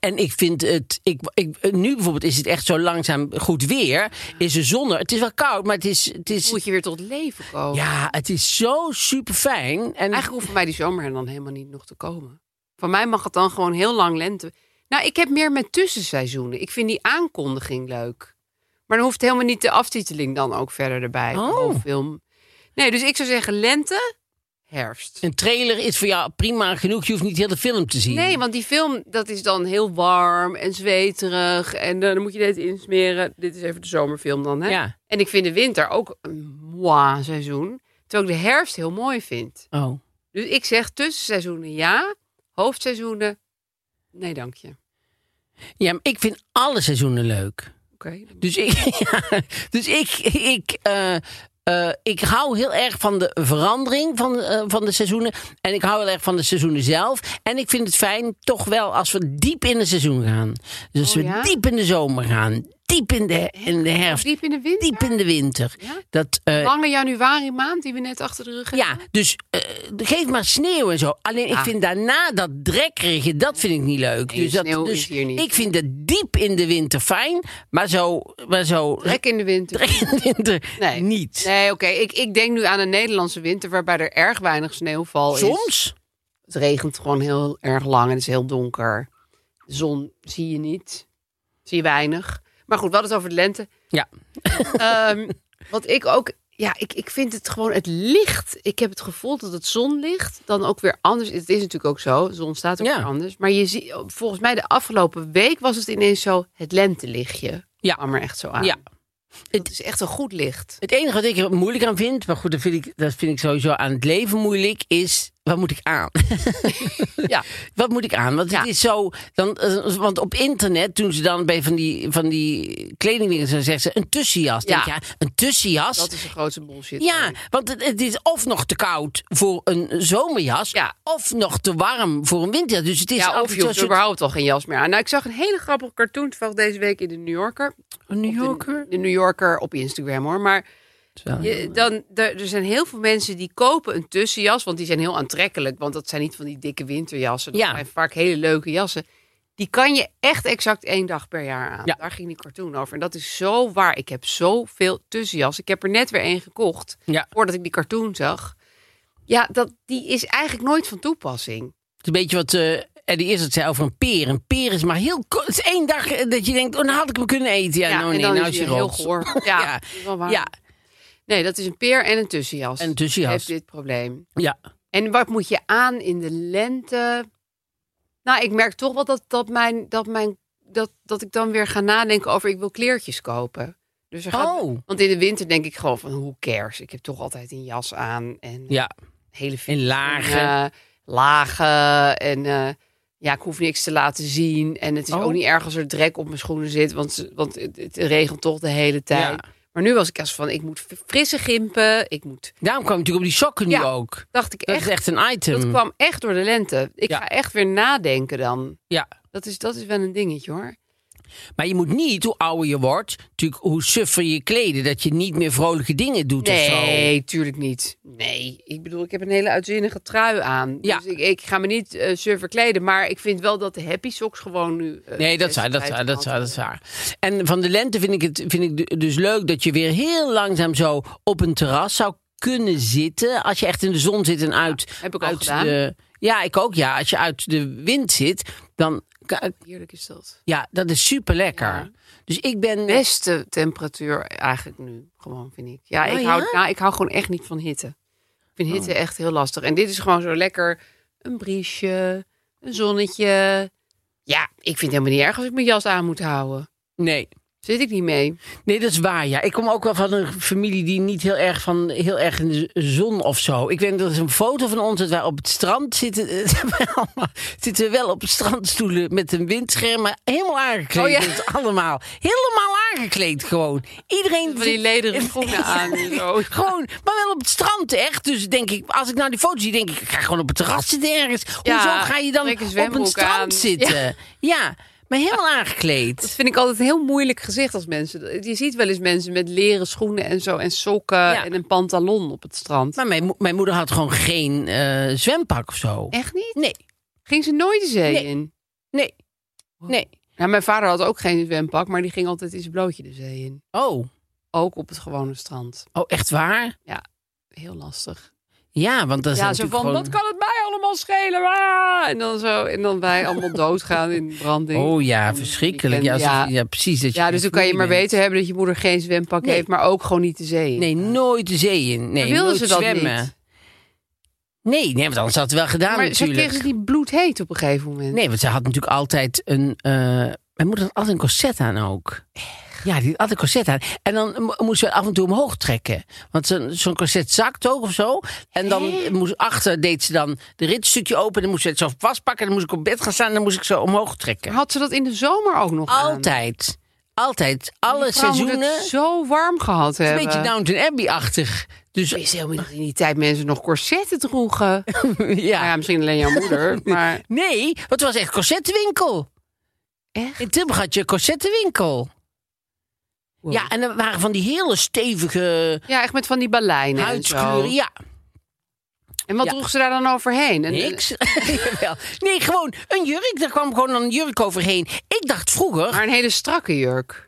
Speaker 1: En ik vind het, ik, ik, nu bijvoorbeeld is het echt zo langzaam goed weer. Is de zon er. Het is wel koud, maar het is, het is
Speaker 3: moet je weer tot leven komen.
Speaker 1: ja, het is zo super fijn. En
Speaker 3: Eigenlijk hoeft voor mij die zomer er dan helemaal niet nog te komen. Van mij mag het dan gewoon heel lang lente. Nou, ik heb meer met tussenseizoenen. Ik vind die aankondiging leuk. Maar dan hoeft helemaal niet de aftiteling dan ook verder erbij.
Speaker 1: Oh.
Speaker 3: Gewoon film. Nee, dus ik zou zeggen lente, herfst.
Speaker 1: een trailer is voor jou prima genoeg. Je hoeft niet heel de film te zien.
Speaker 3: Nee, want die film dat is dan heel warm en zweterig. En eh, dan moet je dit insmeren. Dit is even de zomerfilm dan, hè?
Speaker 1: Ja.
Speaker 3: En ik vind de winter ook een mooi seizoen. Terwijl ik de herfst heel mooi vind.
Speaker 1: Oh.
Speaker 3: Dus ik zeg tussenseizoenen ja, hoofdseizoenen nee dank je. Oké.
Speaker 1: Ja, maar ik vind alle seizoenen leuk. Dus ik, ja, dus ik, ik, eh, eh, ik hou heel erg van de verandering van, eh, van de seizoenen. En ik hou heel erg van de seizoenen zelf. En ik vind het fijn toch wel als we diep in het seizoen gaan. Dus als
Speaker 3: Oh,
Speaker 1: we
Speaker 3: ja?
Speaker 1: diep in de zomer gaan. Diep in de, in de herfst.
Speaker 3: Diep in de winter?
Speaker 1: Diep in de winter.
Speaker 3: Ja?
Speaker 1: Dat, eh,
Speaker 3: Lange januari maand die we net achter de rug hebben.
Speaker 1: ja, dus eh, geef maar sneeuw en zo. Alleen ik vind daarna dat drekkerige, dat vind ik niet leuk.
Speaker 3: Nee,
Speaker 1: dus dat,
Speaker 3: sneeuw
Speaker 1: dus
Speaker 3: is hier niet.
Speaker 1: Ik vind het diep in de winter fijn. Maar zo, maar zo
Speaker 3: Trek in de winter.
Speaker 1: trek in de winter
Speaker 3: Nee.
Speaker 1: niet.
Speaker 3: Nee, oké. Ik, ik denk nu aan een Nederlandse winter waarbij er erg weinig sneeuwval is.
Speaker 1: Soms?
Speaker 3: Het regent gewoon heel erg lang en het is heel donker. De zon zie je niet. Zie je weinig. Maar goed, we hadden het over de lente.
Speaker 1: Ja.
Speaker 3: Ehm, wat ik ook... Ja, ik, ik vind het gewoon het licht. Ik heb het gevoel dat het zonlicht dan ook weer anders... Het is natuurlijk ook zo. De zon staat ook
Speaker 1: Ja.
Speaker 3: weer anders. Maar je ziet... Volgens mij de afgelopen week was het ineens zo... Het lentelichtje
Speaker 1: Ja.
Speaker 3: kwam er echt zo aan.
Speaker 1: Ja.
Speaker 3: Het is echt een goed licht.
Speaker 1: Het enige wat ik er moeilijk aan vind, maar goed, dat vind, ik, dat vind ik sowieso aan het leven moeilijk, is wat moet ik aan?
Speaker 3: Ja.
Speaker 1: Wat moet ik aan? Want het
Speaker 3: Ja.
Speaker 1: is zo, dan, eh, want op internet doen ze dan bij van die, van die kledingwinkels, dan zeggen ze een tussenjas.
Speaker 3: Ja.
Speaker 1: Denk je, ja, een tussenjas?
Speaker 3: Dat is de grootste bullshit.
Speaker 1: Ja, want het, het is of nog te koud voor een zomerjas,
Speaker 3: Ja.
Speaker 1: of nog te warm voor een winterjas. Dus het is
Speaker 3: Ja,
Speaker 1: altijd
Speaker 3: of je
Speaker 1: zo'n
Speaker 3: hoeft
Speaker 1: soort-
Speaker 3: überhaupt al geen jas meer aan. Nou, ik zag een hele grappige cartoon toevallig deze week in de New Yorker.
Speaker 1: Een New
Speaker 3: Op de-
Speaker 1: Yorker?
Speaker 3: De, New Yorker op Instagram hoor. Maar
Speaker 1: Oh,
Speaker 3: je, dan, er, er zijn heel veel mensen die kopen een tussenjas, want die zijn heel aantrekkelijk. Want dat zijn niet van die dikke winterjassen. Dat
Speaker 1: Ja.
Speaker 3: zijn vaak hele leuke jassen. Die kan je echt exact één dag per jaar aan.
Speaker 1: Ja.
Speaker 3: Daar ging die cartoon over. En dat is zo waar. Ik heb zoveel tussenjassen. Ik heb er net weer één gekocht,
Speaker 1: Ja,
Speaker 3: voordat ik die cartoon zag. Ja, dat, die is eigenlijk nooit van toepassing.
Speaker 1: Het is een beetje wat eh Eddie Izzard zei over een peer. Een peer is maar heel kort. Het is één dag eh, dat je denkt, oh, dan had ik hem kunnen eten. Ja,
Speaker 3: Ja,
Speaker 1: nou
Speaker 3: en
Speaker 1: nee,
Speaker 3: dan
Speaker 1: nou
Speaker 3: is
Speaker 1: is hij
Speaker 3: hij heel
Speaker 1: rot.
Speaker 3: goor. Ja,
Speaker 1: ja.
Speaker 3: dat is wel waar.
Speaker 1: Ja,
Speaker 3: Nee, dat is een peer en een tussenjas.
Speaker 1: En een tussenjas.
Speaker 3: Heeft dit probleem.
Speaker 1: ja.
Speaker 3: En wat moet je aan in de lente? Nou, ik merk toch wel dat, dat, mijn, dat mijn dat, dat ik dan weer ga nadenken over ik wil kleertjes kopen. Dus er gaat,
Speaker 1: Oh.
Speaker 3: Want in de winter denk ik gewoon van hoe cares. Ik heb toch altijd een jas aan en
Speaker 1: Ja,
Speaker 3: hele fiets
Speaker 1: in lagen.
Speaker 3: en, eh, lagen en eh, ja, ik hoef niks te laten zien. En het is
Speaker 1: Oh.
Speaker 3: ook niet erg als er drek op mijn schoenen zit, want, ze- want het, het regent toch de hele tijd.
Speaker 1: Ja.
Speaker 3: Maar nu was ik als van, ik moet f- frisse gimpen, ik moet...
Speaker 1: Daarom kwam ik natuurlijk op die sokken
Speaker 3: Ja,
Speaker 1: nu ook.
Speaker 3: Dacht ik
Speaker 1: Dat
Speaker 3: echt,
Speaker 1: is echt een item.
Speaker 3: dat kwam echt door de lente. Ik
Speaker 1: Ehm, Ja.
Speaker 3: ga echt weer nadenken dan.
Speaker 1: Ja.
Speaker 3: Dat is, dat is wel een dingetje hoor.
Speaker 1: Maar je moet niet, hoe ouder je wordt, natuurlijk hoe suffer je kleden, dat je niet meer vrolijke dingen doet of zo.
Speaker 3: Nee, tuurlijk niet. Nee, ik bedoel, ik heb een hele uitzinnige trui aan.
Speaker 1: Ja.
Speaker 3: Dus ik, ik ga me niet eh surfer kleden, maar ik vind wel dat de happy socks gewoon nu... eh,
Speaker 1: Nee, dat is waar, dat is waar, dat is waar, dat is waar. En van de lente vind ik het vind ik du- dus leuk dat je weer heel langzaam zo op een terras zou kunnen zitten. Als je echt in de zon zit en uit,
Speaker 3: heb ik al
Speaker 1: uit
Speaker 3: gedaan.
Speaker 1: de. Ja, ik ook, ja. Als je uit de wind zit, dan. ka-
Speaker 3: Heerlijk is dat.
Speaker 1: Ja, dat is super lekker.
Speaker 3: Ja.
Speaker 1: Dus ik ben.
Speaker 3: Beste temperatuur eigenlijk nu, gewoon vind ik. Ja, Oh.
Speaker 1: Oh,
Speaker 3: ik, hou,
Speaker 1: ja?
Speaker 3: nou, ik hou gewoon echt niet van hitte. Ik vind hitte echt heel lastig. En dit is gewoon zo lekker een briesje, een zonnetje. Ja, ik vind het helemaal niet erg als ik mijn jas aan moet houden.
Speaker 1: Nee.
Speaker 3: Zit ik niet mee.
Speaker 1: Nee, dat is waar, ja. Ik kom ook wel van een familie die niet heel erg, van, heel erg in de zon of zo. Ik weet, dat is een foto van ons dat wij op het strand zitten. Allemaal- zitten we wel op strandstoelen met een windscherm, maar helemaal aangekleed.
Speaker 3: Oh, ja.
Speaker 1: met allemaal. Helemaal aangekleed gewoon. Iedereen...
Speaker 3: Van die lederen
Speaker 1: zit-
Speaker 3: schoenen aan en zo.
Speaker 1: Gewoon, maar wel op het strand echt. Dus denk ik, als ik nou die foto zie, denk ik, ik ga gewoon op het terras zitten ergens.
Speaker 3: Ja,
Speaker 1: Hoezo ga je dan
Speaker 3: trek een
Speaker 1: op een
Speaker 3: zwembroek
Speaker 1: strand
Speaker 3: aan.
Speaker 1: zitten? Ja. maar helemaal
Speaker 3: Dat
Speaker 1: aangekleed.
Speaker 3: vind ik altijd een heel moeilijk gezicht als mensen. Je ziet wel eens mensen met leren schoenen en zo en sokken
Speaker 1: Ja.
Speaker 3: en een pantalon op het strand.
Speaker 1: Maar Nou, mijn, mo- mijn moeder had gewoon geen eh, zwempak of zo.
Speaker 3: echt niet?
Speaker 1: Nee,
Speaker 3: Ging ze nooit de zee
Speaker 1: Nee.
Speaker 3: in?
Speaker 1: nee, nee.
Speaker 3: Nou, mijn vader had ook geen zwempak, maar die ging altijd in zijn blootje de zee in.
Speaker 1: Oh,
Speaker 3: Ook op het gewone strand.
Speaker 1: oh echt waar?
Speaker 3: Heel lastig.
Speaker 1: Ja, want dat is
Speaker 3: ja, zo
Speaker 1: natuurlijk
Speaker 3: van,
Speaker 1: gewoon...
Speaker 3: wat kan het mij allemaal schelen? Ah! En dan zo, en dan wij allemaal doodgaan in branding.
Speaker 1: Oh ja,
Speaker 3: En
Speaker 1: verschrikkelijk. Ja,
Speaker 3: weekend,
Speaker 1: alsof-
Speaker 3: ja.
Speaker 1: ja, precies. Dat je
Speaker 3: ja, dus dan kan je maar
Speaker 1: bent.
Speaker 3: weten hebben dat je moeder geen zwempak
Speaker 1: Nee.
Speaker 3: heeft, maar ook gewoon niet de zee in.
Speaker 1: Nee, nooit de zee in. Nee,
Speaker 3: Maar wilden
Speaker 1: nooit
Speaker 3: ze dat
Speaker 1: zwemmen.
Speaker 3: niet?
Speaker 1: Nee, nee, want anders had het wel gedaan
Speaker 3: maar ze
Speaker 1: natuurlijk.
Speaker 3: kregen ze die bloedheet op een gegeven moment.
Speaker 1: Nee, want ze had natuurlijk altijd een. eh, mijn moeder had altijd een corset aan ook. Ja, die had altijd een corset aan. En dan mo- moest ze af en toe omhoog trekken. Want zo'n zo'n corset zakt ook of zo. En dan moest achter deed ze dan de ritstukje open. Dan moest ze het zo vastpakken. En dan moest ik op bed gaan staan. En dan moest ik zo omhoog trekken.
Speaker 3: Had ze dat in de zomer ook nog aan?
Speaker 1: Altijd. Altijd. Alle
Speaker 3: Die vrouw moet
Speaker 1: seizoenen.
Speaker 3: het zo warm gehad
Speaker 1: Een
Speaker 3: hebben.
Speaker 1: beetje Downton Abbey-achtig. Dus
Speaker 3: Ik wist helemaal niet dat in die tijd mensen nog corsetten droegen.
Speaker 1: ja.
Speaker 3: Nou ja, misschien alleen jouw moeder, maar...
Speaker 1: Nee, want het was echt corsettenwinkel.
Speaker 3: Echt?
Speaker 1: In Tilburg had je een corsettenwinkel.
Speaker 3: Wow.
Speaker 1: Ja, en er waren van die hele stevige
Speaker 3: Ja, echt met van die baleinen en zo.
Speaker 1: huidskleuren. Ja,
Speaker 3: En wat
Speaker 1: Ja.
Speaker 3: droeg ze daar dan overheen? En, eh,
Speaker 1: niks. Jawel. nee, gewoon een jurk. Daar kwam gewoon een jurk overheen. Ik dacht vroeger...
Speaker 3: Maar een hele strakke jurk.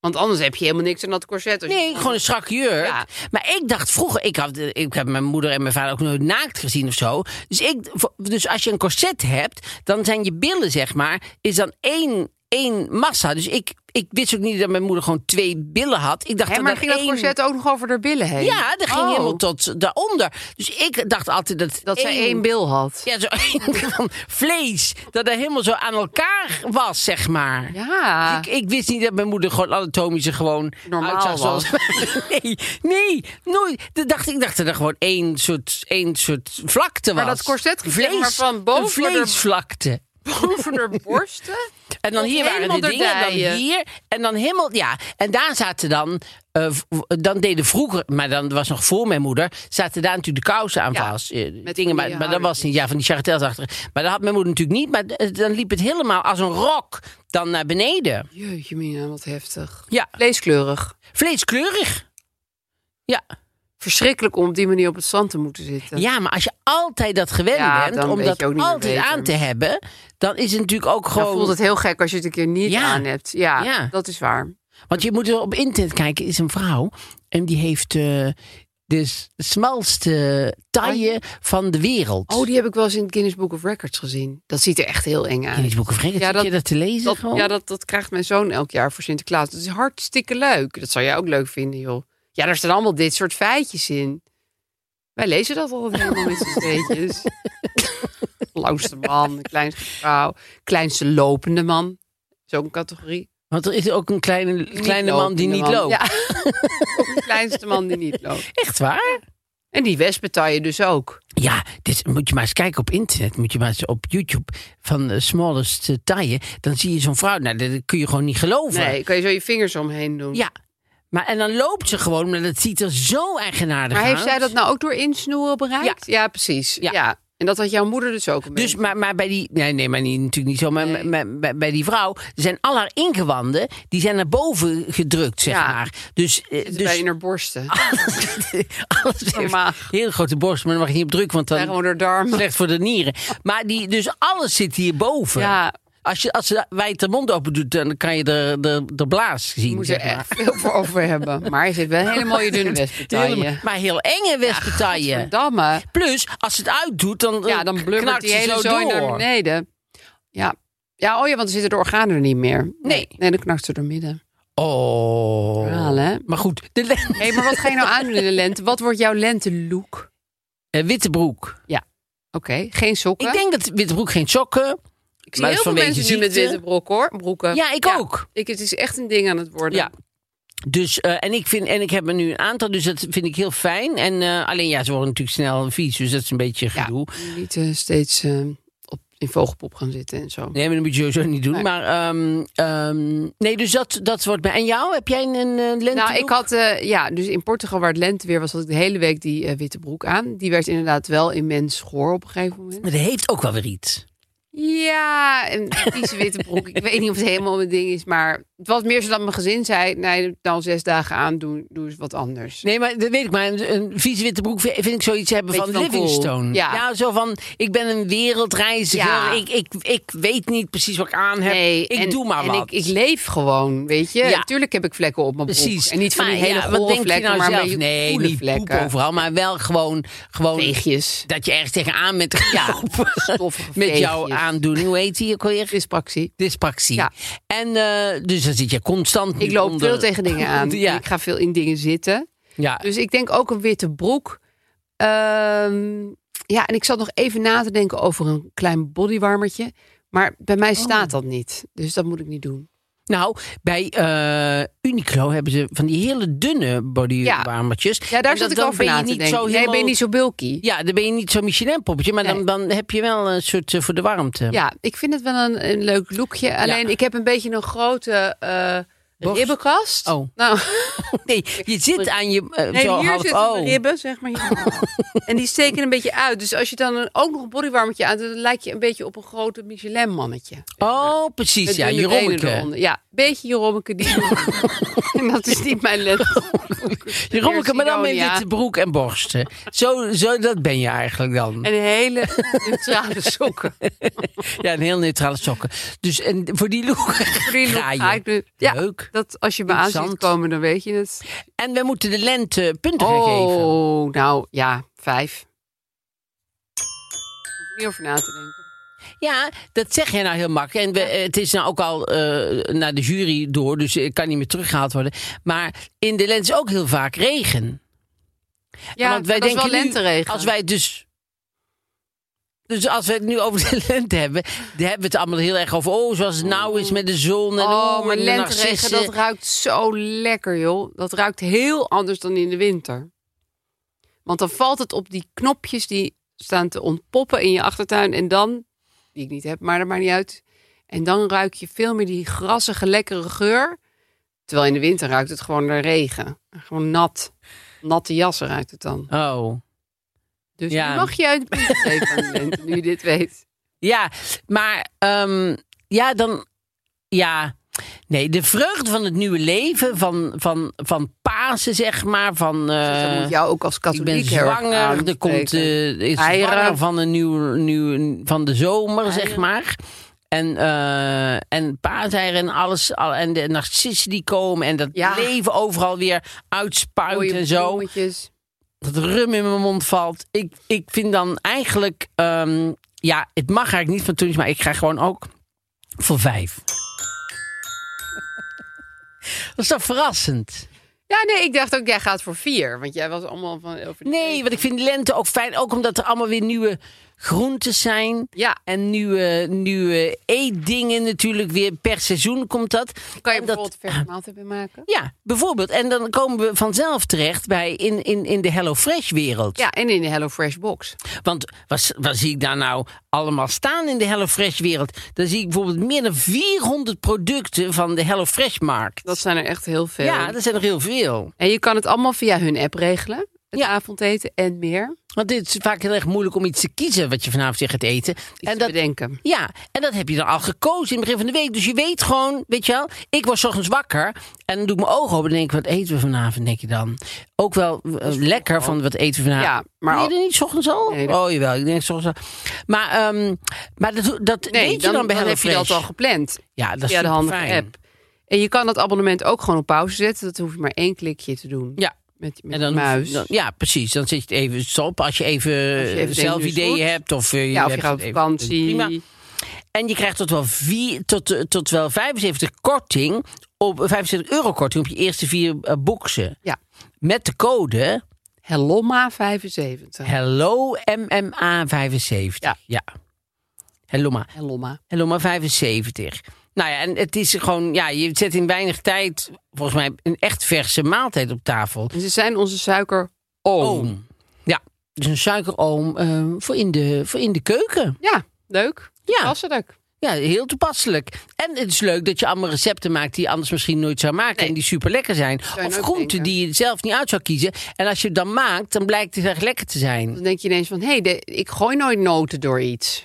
Speaker 3: Want anders heb je helemaal niks aan dat corset. als je-
Speaker 1: Nee, gewoon een strakke jurk.
Speaker 3: Ja.
Speaker 1: Maar ik dacht vroeger, ik, had, ik heb mijn moeder en mijn vader ook nooit naakt gezien of zo. Dus, ik, dus als je een corset hebt, dan zijn je billen, zeg maar, is dan één, één massa. Dus ik, ik wist ook niet dat mijn moeder gewoon twee billen had. Ik dacht
Speaker 3: Hè, maar
Speaker 1: dat
Speaker 3: ging dat
Speaker 1: één...
Speaker 3: corset ook nog over haar billen heen?
Speaker 1: Ja, dat ging
Speaker 3: Oh,
Speaker 1: helemaal tot daaronder. Dus ik dacht altijd dat.
Speaker 3: Dat zij één bil had.
Speaker 1: Ja, zo één van vlees. Dat er helemaal zo aan elkaar was, zeg maar.
Speaker 3: Ja.
Speaker 1: Ik, ik wist niet dat mijn moeder gewoon anatomische gewoon
Speaker 3: Normaal
Speaker 1: uitzag
Speaker 3: was.
Speaker 1: zoals- Nee, nee, nooit. Dat dacht, ik dacht dat er gewoon één soort, één soort vlakte was.
Speaker 3: Maar dat corset ging zeg maar van boven
Speaker 1: Een
Speaker 3: door de-
Speaker 1: vleesvlakte.
Speaker 3: Over haar borsten?
Speaker 1: En dan
Speaker 3: Tot
Speaker 1: hier waren
Speaker 3: helemaal
Speaker 1: de dingen, dan
Speaker 3: erdijen.
Speaker 1: hier. En dan helemaal, ja. En daar zaten dan, eh, v- dan deden vroeger, maar dan was nog voor mijn moeder, zaten daar natuurlijk de kousen aan
Speaker 3: Ja,
Speaker 1: vast. eh,
Speaker 3: met
Speaker 1: dingen,
Speaker 3: van
Speaker 1: maar,
Speaker 3: die
Speaker 1: maar dat was niet, ja, van die charretels achter. Maar dat had mijn moeder natuurlijk niet, maar eh, dan liep het helemaal als een rok dan naar beneden.
Speaker 3: Jeetje mina, wat heftig.
Speaker 1: Ja,
Speaker 3: Vleeskleurig.
Speaker 1: vleeskleurig. Ja.
Speaker 3: Verschrikkelijk om op die manier op het zand te moeten zitten.
Speaker 1: ja, maar als je altijd dat gewend
Speaker 3: Ja,
Speaker 1: bent,
Speaker 3: dan
Speaker 1: om
Speaker 3: weet
Speaker 1: dat
Speaker 3: je ook niet meer
Speaker 1: altijd
Speaker 3: beter.
Speaker 1: aan te hebben, dan is het natuurlijk ook
Speaker 3: Dan
Speaker 1: gewoon...
Speaker 3: voelt het heel gek als je het een keer niet
Speaker 1: Ja.
Speaker 3: aan hebt. Ja,
Speaker 1: Ja.
Speaker 3: dat is waar.
Speaker 1: Want je moet wel op internet kijken, is een vrouw. En die heeft eh, de s- smalste taille van de wereld.
Speaker 3: Ah, Oh, die heb ik wel eens in het Guinness Book of Records gezien. Dat ziet er echt heel eng uit.
Speaker 1: Guinness Book of Records,
Speaker 3: Ja,
Speaker 1: zit
Speaker 3: dat-
Speaker 1: je dat te lezen
Speaker 3: Dat,
Speaker 1: gewoon?
Speaker 3: ja, dat, dat krijgt mijn zoon elk jaar voor Sinterklaas. Dat is hartstikke leuk. Dat zou jij ook leuk vinden, joh. Ja, daar staan allemaal dit soort feitjes in. Wij lezen dat altijd helemaal met z'n tweetjes. Langste man, de kleinste vrouw, kleinste lopende man. Zo'n categorie.
Speaker 1: Want er is ook een kleine, kleine man die niet
Speaker 3: lopende
Speaker 1: loopt.
Speaker 3: Ja. ook de kleinste man die niet loopt.
Speaker 1: Echt waar?
Speaker 3: En die wesp betaal je dus ook.
Speaker 1: Ja, dit moet je maar eens kijken op internet. Moet je maar eens op YouTube van eh, Smallest eh, Taaien. Dan zie je zo'n vrouw. Nou, dat kun je gewoon niet geloven.
Speaker 3: Nee, kan je zo je vingers omheen doen.
Speaker 1: eh, Ja. Maar, en dan loopt ze gewoon, maar dat ziet er zo eigenaardig
Speaker 3: maar
Speaker 1: uit.
Speaker 3: heeft zij dat nou ook door insnoeren bereikt? Ja, precies.
Speaker 1: Ja.
Speaker 3: Ja. En dat had jouw moeder dus ook een
Speaker 1: Dus,
Speaker 3: beetje.
Speaker 1: maar, maar bij die... Nee, nee maar niet, natuurlijk niet zo. Maar
Speaker 3: Nee.
Speaker 1: maar- bij, bij die vrouw zijn al haar ingewanden... die zijn naar boven gedrukt, zeg
Speaker 3: Ja.
Speaker 1: maar. Dus, eh,
Speaker 3: Zitten bij
Speaker 1: dus
Speaker 3: in haar borsten.
Speaker 1: alles heeft
Speaker 3: Normaal.
Speaker 1: een hele grote borst, maar dan mag je niet op drukken... want
Speaker 3: Ja,
Speaker 1: dan
Speaker 3: gewoon haar darmen.
Speaker 1: slecht voor de nieren. Maar die, dus alles zit hierboven.
Speaker 3: Ja,
Speaker 1: Als, je, als ze wijd de mond open doet, dan kan je de, de, de blaas
Speaker 3: je
Speaker 1: zien.
Speaker 3: moet
Speaker 1: zeg
Speaker 3: er
Speaker 1: maar.
Speaker 3: echt veel voor over hebben. Maar je zit wel een hele mooie dunne
Speaker 1: Helemaal-
Speaker 3: wespetaille.
Speaker 1: Maar heel enge wespetaille.
Speaker 3: Damme.
Speaker 1: Plus, als ze het uitdoet, dan, eh,
Speaker 3: Ja, dan blubbert
Speaker 1: knakt
Speaker 3: die
Speaker 1: ze
Speaker 3: hele
Speaker 1: zo
Speaker 3: zooi
Speaker 1: door.
Speaker 3: naar beneden. Ja. ja, oh ja, want dan zitten de organen er niet meer.
Speaker 1: Nee.
Speaker 3: Nee, dan knakt ze door midden.
Speaker 1: Oh.
Speaker 3: Verhaal, hè?
Speaker 1: Maar goed, de len-
Speaker 3: Hé, maar wat ga je nou aandoen in de lente? Wat wordt jouw lente-look? Oké,
Speaker 1: Eh, witte broek.
Speaker 3: geen sokken.
Speaker 1: Ik denk dat witte broek geen eh, sokken.
Speaker 3: Ik zie
Speaker 1: Maar dat
Speaker 3: heel veel
Speaker 1: is vanwege
Speaker 3: mensen nu met
Speaker 1: ziekte.
Speaker 3: witte broek, hoor. broeken.
Speaker 1: Ja, ik ook.
Speaker 3: Ik, het is echt een ding aan het worden.
Speaker 1: Ja. Dus, eh, en, ik vind, en ik heb er nu een aantal, dus dat vind ik heel fijn. En eh, alleen ja, ze worden natuurlijk snel vies, dus dat is een beetje
Speaker 3: Ja.
Speaker 1: gedoe.
Speaker 3: Niet eh, steeds eh, op, in vogelpop gaan zitten en zo.
Speaker 1: Nee, maar dat moet je sowieso niet doen.
Speaker 3: Nee.
Speaker 1: Maar ehm, ehm, nee, dus dat, dat wordt bij. En jou, heb jij een eh, lente?
Speaker 3: Nou, ik had, eh, ja, dus in Portugal waar het lente weer was, had ik de hele week die eh, witte broek aan. Die werd inderdaad wel immens goor op een gegeven moment.
Speaker 1: Maar dat heeft ook wel weer iets.
Speaker 3: Ja, een vieze witte broek. Ik weet niet of het helemaal mijn ding is, maar het was meer zodat mijn gezin zei, nee, dan zes dagen aan, doe, doe eens wat anders.
Speaker 1: Nee, maar dat weet ik. Maar een, een vieze witte broek vind vind ik zoiets hebben
Speaker 3: Beetje
Speaker 1: van,
Speaker 3: van cool.
Speaker 1: Livingstone.
Speaker 3: Ja.
Speaker 1: zo van, ik ben een wereldreiziger.
Speaker 3: Ja.
Speaker 1: Ik, ik, ik weet niet precies wat ik aan heb.
Speaker 3: Nee,
Speaker 1: ik
Speaker 3: en-
Speaker 1: doe maar
Speaker 3: en
Speaker 1: wat.
Speaker 3: Ik, ik leef gewoon, weet je.
Speaker 1: Ja.
Speaker 3: Natuurlijk heb ik vlekken op mijn broek.
Speaker 1: Precies.
Speaker 3: En niet van die
Speaker 1: Maar
Speaker 3: hele
Speaker 1: ja, wat
Speaker 3: gore
Speaker 1: denk je
Speaker 3: vlekken,
Speaker 1: nou
Speaker 3: maar
Speaker 1: zelf?
Speaker 3: een beetje
Speaker 1: Nee,
Speaker 3: koele
Speaker 1: niet poep
Speaker 3: vlekken.
Speaker 1: overal, maar wel gewoon... gewoon
Speaker 3: Veegjes.
Speaker 1: Dat je ergens tegenaan bent gelopen.
Speaker 3: stoffige
Speaker 1: met jouw
Speaker 3: veegjes.
Speaker 1: aandoening. Hoe heet die ook alweer?
Speaker 3: Dyspraxie.
Speaker 1: Dyspraxie.
Speaker 3: Ja.
Speaker 1: En eh, dus dan zit je constant
Speaker 3: Ik loop
Speaker 1: onder-
Speaker 3: veel tegen dingen aan.
Speaker 1: Ja.
Speaker 3: Ik ga veel in dingen zitten.
Speaker 1: Ja.
Speaker 3: Dus ik denk ook een witte broek. Ehm, ja, en ik zat nog even na te denken over een klein bodywarmertje. Maar bij
Speaker 1: Oh.
Speaker 3: mij staat dat niet. Dus dat moet ik niet doen.
Speaker 1: Nou, bij eh Uniqlo hebben ze van die hele dunne bodywarmertjes.
Speaker 3: Ja, daar
Speaker 1: En
Speaker 3: zat
Speaker 1: dan-
Speaker 3: ik
Speaker 1: dan
Speaker 3: over
Speaker 1: ben je
Speaker 3: na te
Speaker 1: niet
Speaker 3: denken.
Speaker 1: Zo
Speaker 3: nee,
Speaker 1: helemaal-
Speaker 3: ben je niet zo bulky.
Speaker 1: Ja, dan ben je niet zo'n Michelin-poppetje, maar dan,
Speaker 3: Nee.
Speaker 1: dan heb je wel een soort eh, voor de warmte.
Speaker 3: Ja, ik vind het wel een, een leuk lookje. Alleen ik heb een beetje een grote eh
Speaker 1: Borst.
Speaker 3: ribbenkast.
Speaker 1: Oh.
Speaker 3: Nou,
Speaker 1: Nee, je zit aan je... eh,
Speaker 3: nee,
Speaker 1: zo
Speaker 3: hier
Speaker 1: half,
Speaker 3: zitten mijn
Speaker 1: oh.
Speaker 3: ribben, zeg maar. Hier. en die steken een beetje uit. Dus als je dan een- ook nog een bodywarmertje aan doet, dan lijk je een beetje op een grote Michelin-mannetje.
Speaker 1: Oh, precies,
Speaker 3: Met
Speaker 1: ja,
Speaker 3: dunne benen
Speaker 1: Jerommeke.
Speaker 3: eronder. Ja, een beetje Jerommeke. Die en dat is niet mijn let.
Speaker 1: Jerommeke, maar dan met
Speaker 3: Sidonia.
Speaker 1: witte broek en borsten. Zo, zo, dat ben je eigenlijk dan.
Speaker 3: En hele neutrale sokken.
Speaker 1: Ja, een heel neutrale sokken. Dus en voor die look
Speaker 3: Voor die look
Speaker 1: ga je.
Speaker 3: ga ik nu- Ja,
Speaker 1: Leuk.
Speaker 3: dat als je me aan ziet
Speaker 1: Interessant.
Speaker 3: komen, dan weet je het.
Speaker 1: En we moeten de lente punten geven.
Speaker 3: Oh, nou ja, vijf. Hoef ik niet over na te denken.
Speaker 1: Ja, dat zeg jij nou heel makkelijk. En we, eh, het is nou ook al eh, naar de jury door, dus het kan niet meer teruggehaald worden. Maar in de lente is ook heel vaak regen.
Speaker 3: Ja,
Speaker 1: Want wij
Speaker 3: dat
Speaker 1: denken
Speaker 3: is wel lenteregen.
Speaker 1: Nu, als wij het dus. Dus als we het nu over de lente hebben, dan hebben we het allemaal heel erg over. Oh, zoals het nou is met de zon en
Speaker 3: oh,
Speaker 1: oeh,
Speaker 3: maar
Speaker 1: en de
Speaker 3: lenteregen,
Speaker 1: narcissen.
Speaker 3: dat ruikt zo lekker, joh. Dat ruikt heel anders dan in de winter. Want dan valt het op die knopjes die staan te ontpoppen in je achtertuin. En dan, die ik niet heb, maar dat maakt niet uit. En dan ruik je veel meer die grassige, lekkere geur. Terwijl in de winter ruikt het gewoon naar regen. Gewoon nat. Natte jassen ruikt het dan.
Speaker 1: Oh.
Speaker 3: Dus
Speaker 1: Ja.
Speaker 3: nu mag je uit de punt geven aan de mensen, nu je dit weet. Dus
Speaker 1: Ja, maar ehm, ja, dan. Ja. Nee, de vreugde van het nieuwe leven, van, van, van Pasen, zeg maar. Van,
Speaker 3: Dus
Speaker 1: eh,
Speaker 3: dat moet jou ook als
Speaker 1: ik
Speaker 3: katholiek
Speaker 1: ben
Speaker 3: heel erg
Speaker 1: zwanger, er komt
Speaker 3: aanspreken.
Speaker 1: eh is
Speaker 3: Eieren.
Speaker 1: zwanger van, een nieuw, nieuw, van de zomer, zeg maar. En, eh en paaseieren en alles. al- En de narcissen die komen. En dat
Speaker 3: Ja.
Speaker 1: leven overal weer uitspuit
Speaker 3: Mooie
Speaker 1: en zo.
Speaker 3: bloemetjes.
Speaker 1: Dat rum in mijn mond valt. Ik, ik vind dan eigenlijk... ehm, ja, het mag eigenlijk niet van toen, maar ik ga gewoon ook voor vijf. Dat is toch verrassend?
Speaker 3: Ja, nee, ik dacht ook, jij gaat voor vier. Want jij was allemaal van... Over die-
Speaker 1: Nee, want ik vind lente ook fijn. Ook omdat er allemaal weer nieuwe groentes zijn.
Speaker 3: Ja.
Speaker 1: En nieuwe, nieuwe eetdingen natuurlijk weer. Per seizoen komt dat.
Speaker 3: Kan je
Speaker 1: En dat-
Speaker 3: bijvoorbeeld verse maaltijd mee maken?
Speaker 1: Ja, bijvoorbeeld. En dan komen we vanzelf terecht bij in, in, in de HelloFresh-wereld.
Speaker 3: Ja, en in de HelloFresh box.
Speaker 1: Want wat, wat zie ik daar nou allemaal staan in de HelloFresh-wereld? Dan zie ik bijvoorbeeld meer dan 400 producten van de HelloFresh-markt.
Speaker 3: Dat zijn er echt heel veel.
Speaker 1: Ja, dat zijn er heel veel.
Speaker 3: En je kan het allemaal via hun app regelen. Het
Speaker 1: Ja.
Speaker 3: avondeten en meer.
Speaker 1: Want dit is vaak heel erg moeilijk om iets te kiezen wat je vanavond weer gaat eten.
Speaker 3: Iets
Speaker 1: en
Speaker 3: te
Speaker 1: dat,
Speaker 3: bedenken.
Speaker 1: ja, en dat heb je dan al gekozen in het begin van de week. Dus je weet gewoon, weet je wel, ik was 's ochtends wakker. En dan doe ik mijn ogen open en denk ik, wat eten we vanavond, denk je dan? Ook wel eh, lekker van wat eten we vanavond.
Speaker 3: Ja, maar
Speaker 1: Nee,
Speaker 3: al-
Speaker 1: dan niet 's ochtends al?
Speaker 3: Nee, dat-
Speaker 1: Oh, jawel, ik denk 's ochtends al. Maar, ehm, maar dat, dat
Speaker 3: Nee,
Speaker 1: weet je dan, bij
Speaker 3: heb je dat al
Speaker 1: HelloFresh.
Speaker 3: gepland.
Speaker 1: Ja, dat is
Speaker 3: via de handige
Speaker 1: superfijn.
Speaker 3: app. En je kan dat abonnement ook gewoon op pauze zetten. Dat hoef je maar één klikje te doen.
Speaker 1: Ja.
Speaker 3: Met, met
Speaker 1: En
Speaker 3: je
Speaker 1: dan,
Speaker 3: muis.
Speaker 1: dan- ja, precies. Dan zit je het even stop. Als je even,
Speaker 3: even denkt,
Speaker 1: zelf
Speaker 3: nu is het
Speaker 1: ideeën
Speaker 3: goed.
Speaker 1: hebt. Of, eh,
Speaker 3: ja, of je
Speaker 1: hebt
Speaker 3: gaat op
Speaker 1: het even-
Speaker 3: vakantie.
Speaker 1: Prima. En je krijgt tot wel, vier, tot, eh, tot wel 75 korting op 75 euro korting op je eerste vier eh, boxen.
Speaker 3: Ja.
Speaker 1: Met de code
Speaker 3: Helloma 75.
Speaker 1: Hello MMA 75.
Speaker 3: Ja.
Speaker 1: ja. Hello Ma.
Speaker 3: Helloma.
Speaker 1: Hello Ma 75. Nou ja, en het is gewoon, ja, je zet in weinig tijd volgens mij een echt verse maaltijd op tafel.
Speaker 3: En ze zijn onze suiker oom.
Speaker 1: Ja, dus een suikeroom eh, voor, in de, voor in de keuken.
Speaker 3: Ja, leuk.
Speaker 1: Ja.
Speaker 3: Passelijk.
Speaker 1: Ja, heel toepasselijk. En het is leuk dat je allemaal recepten maakt die je anders misschien nooit zou maken. En die super lekker zijn.
Speaker 3: je
Speaker 1: Of
Speaker 3: nooit
Speaker 1: groenten
Speaker 3: denken.
Speaker 1: die je zelf niet uit zou kiezen. En als je het dan maakt, dan blijkt het echt lekker te zijn.
Speaker 3: Dan denk je ineens van, hé, hey, ik gooi nooit noten door iets.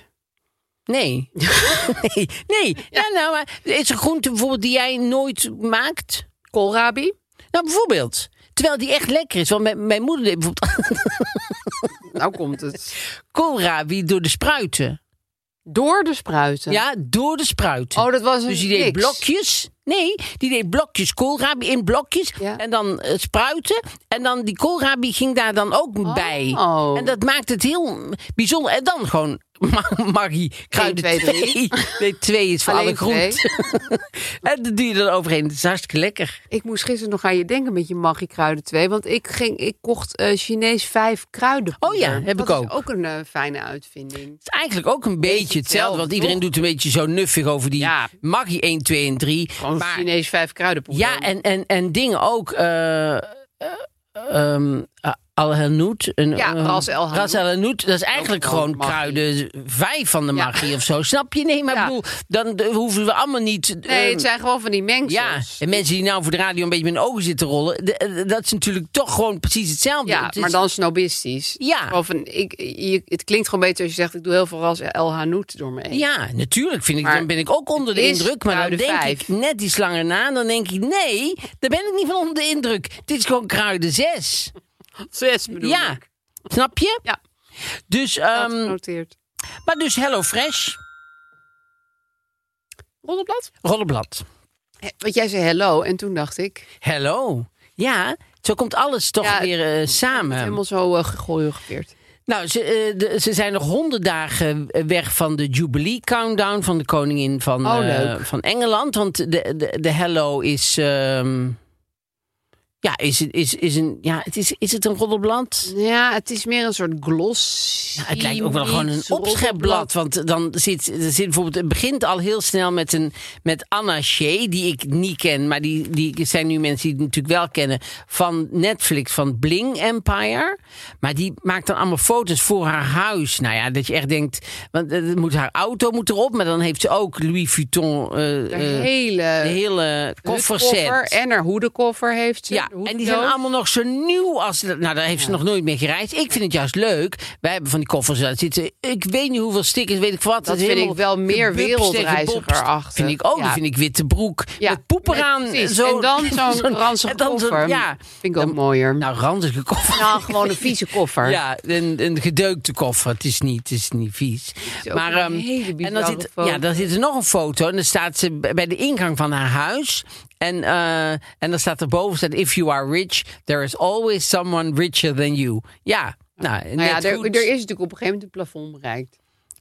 Speaker 1: Nee. nee. Nee. Ja, nou, maar is er groente bijvoorbeeld die jij nooit maakt?
Speaker 3: Koolrabi?
Speaker 1: Nou, bijvoorbeeld. Terwijl die echt lekker is. Want mijn, mijn moeder deed bijvoorbeeld
Speaker 3: Nou komt het.
Speaker 1: koolrabi door de spruiten.
Speaker 3: Door de spruiten.
Speaker 1: Ja, door de spruiten.
Speaker 3: Oh, dat was een
Speaker 1: Dus die deed
Speaker 3: niks.
Speaker 1: blokjes. Nee, die deed blokjes koolrabi in blokjes.
Speaker 3: Ja.
Speaker 1: En dan eh, spruiten. En dan die koolrabi ging daar dan ook bij.
Speaker 3: Oh.
Speaker 1: En dat maakt het heel bijzonder. En dan gewoon ma- Maggie kruiden
Speaker 3: twee, drie.
Speaker 1: twee. Nee, twee is voor
Speaker 3: Alleen
Speaker 1: alle groenten. en dat doe je dan overheen. Het is hartstikke lekker.
Speaker 3: Ik moest gisteren nog aan je denken met je Maggi kruiden 2. Want ik, ging, ik kocht eh, Chinees 5 kruiden.
Speaker 1: Oh ja, heb ik ook.
Speaker 3: Dat is ook een eh, fijne uitvinding.
Speaker 1: Het is eigenlijk ook een beetje, hetzelfde.
Speaker 3: hetzelfde,
Speaker 1: Want iedereen
Speaker 3: toch?
Speaker 1: doet een beetje zo nuffig over die
Speaker 3: Ja.
Speaker 1: Maggie 1, 2 en 3.
Speaker 3: Gewoon Chinees 5 kruidenpoeder.
Speaker 1: Ja, en, en, en dingen ook. eh eh ehm, eh, Al Hanout. een-
Speaker 3: Ja,
Speaker 1: eh,
Speaker 3: Ras El Hanout.
Speaker 1: Ras El Hanout, Dat is eigenlijk
Speaker 3: gewoon
Speaker 1: gewoon
Speaker 3: magie.
Speaker 1: kruiden vijf van de magie of zo. Snap je? Nee, maar
Speaker 3: Ja.
Speaker 1: ik bedoel, dan eh, hoeven we allemaal niet...
Speaker 3: Nee,
Speaker 1: eh,
Speaker 3: het zijn gewoon van die
Speaker 1: ja,
Speaker 3: mengsels.
Speaker 1: en mensen die nou voor de radio een beetje met hun ogen zitten rollen... de- eh, dat is natuurlijk toch gewoon precies hetzelfde.
Speaker 3: Ja,
Speaker 1: Het is-
Speaker 3: maar dan snobistisch.
Speaker 1: Ja.
Speaker 3: Gewoon van, ik, je- het klinkt gewoon beter als je zegt... ik doe heel veel ras El Hanout door me heen.
Speaker 1: Ja, natuurlijk vind ik,
Speaker 3: Maar
Speaker 1: dan ben ik ook onder de
Speaker 3: het is
Speaker 1: indruk. Maar dan
Speaker 3: kruiden
Speaker 1: denk
Speaker 3: vijf.
Speaker 1: ik net iets langer na. Dan denk ik, nee, daar ben ik niet van onder de indruk. Dit is gewoon kruiden zes.
Speaker 3: Zes bedoel
Speaker 1: Ja.
Speaker 3: ik.
Speaker 1: Snap je?
Speaker 3: Ja.
Speaker 1: Dus,
Speaker 3: Dat
Speaker 1: ehm,
Speaker 3: Oh, genoteerd.
Speaker 1: maar dus Hello Fresh,
Speaker 3: Roddelblad?
Speaker 1: rollenblad.
Speaker 3: He- Want jij zei hello en toen dacht ik...
Speaker 1: Hello. Ja, zo komt alles toch
Speaker 3: Ja,
Speaker 1: weer eh, samen.
Speaker 3: helemaal zo eh gechoreografeerd.
Speaker 1: Nou, ze, eh, de- ze zijn nog honderd dagen eh, weg van de Jubilee Countdown van de koningin van,
Speaker 3: Oh,
Speaker 1: eh,
Speaker 3: leuk.
Speaker 1: van Engeland. Want de, de, de Hello is. ehm, ja, is, het- is, is, een, ja het is, is het een roddelblad?
Speaker 3: Ja, het is meer een soort gloss.
Speaker 1: Ja, het lijkt ook wel gewoon een opschepblad. Want dan zit, er zit bijvoorbeeld, het begint al heel snel met, een, met Anna Shea, die ik niet ken. Maar die, die zijn nu mensen die het natuurlijk wel kennen. Van Netflix, van Bling Empire. Maar die maakt dan allemaal foto's voor haar huis. Nou ja, dat je echt denkt, want eh, het moet, haar auto moet erop. Maar dan heeft ze ook Louis Vuitton, eh,
Speaker 3: De
Speaker 1: eh, de
Speaker 3: hele
Speaker 1: hele
Speaker 3: koffer
Speaker 1: kofferset.
Speaker 3: en haar hoedenkoffer heeft ze.
Speaker 1: Ja,
Speaker 3: de
Speaker 1: en die zijn
Speaker 3: hoedendoos.
Speaker 1: allemaal nog zo nieuw als... Nou, daar heeft ze nog nooit mee gereisd. Ik vind het juist leuk. Wij hebben van die koffers daar zitten... Ik weet niet hoeveel stickers, weet ik wat.
Speaker 3: Dat
Speaker 1: Het is
Speaker 3: vind ik
Speaker 1: helemaal
Speaker 3: wel meer
Speaker 1: gebubst en
Speaker 3: wereldreiziger
Speaker 1: gebobst.
Speaker 3: achter.
Speaker 1: Vind ik ook.
Speaker 3: Ja.
Speaker 1: Dan vind ik witte broek
Speaker 3: Ja,
Speaker 1: met poeper
Speaker 3: met-
Speaker 1: aan.
Speaker 3: precies.
Speaker 1: Zo,
Speaker 3: En dan zo'n ranzige
Speaker 1: en dan zo'n-
Speaker 3: koffer.
Speaker 1: Ja.
Speaker 3: Vind ik ook mooier. Nou,
Speaker 1: Nou, ranzige koffer.
Speaker 3: gewoon een vieze koffer.
Speaker 1: Ja, een, een gedeukte koffer. Het is niet, het is niet vies.
Speaker 3: is ook
Speaker 1: maar,
Speaker 3: een
Speaker 1: ehm,
Speaker 3: hele
Speaker 1: en dan
Speaker 3: bizarre
Speaker 1: zit,
Speaker 3: foto.
Speaker 1: ja, dan zit er nog een foto. En dan staat ze b- bij de ingang van haar huis. En, eh, en dan staat er boven, staat, if you are rich, there is always someone richer than you. Ja, nou,
Speaker 3: Nou ja,
Speaker 1: net
Speaker 3: er,
Speaker 1: goed.
Speaker 3: er is natuurlijk op een gegeven moment een plafond bereikt.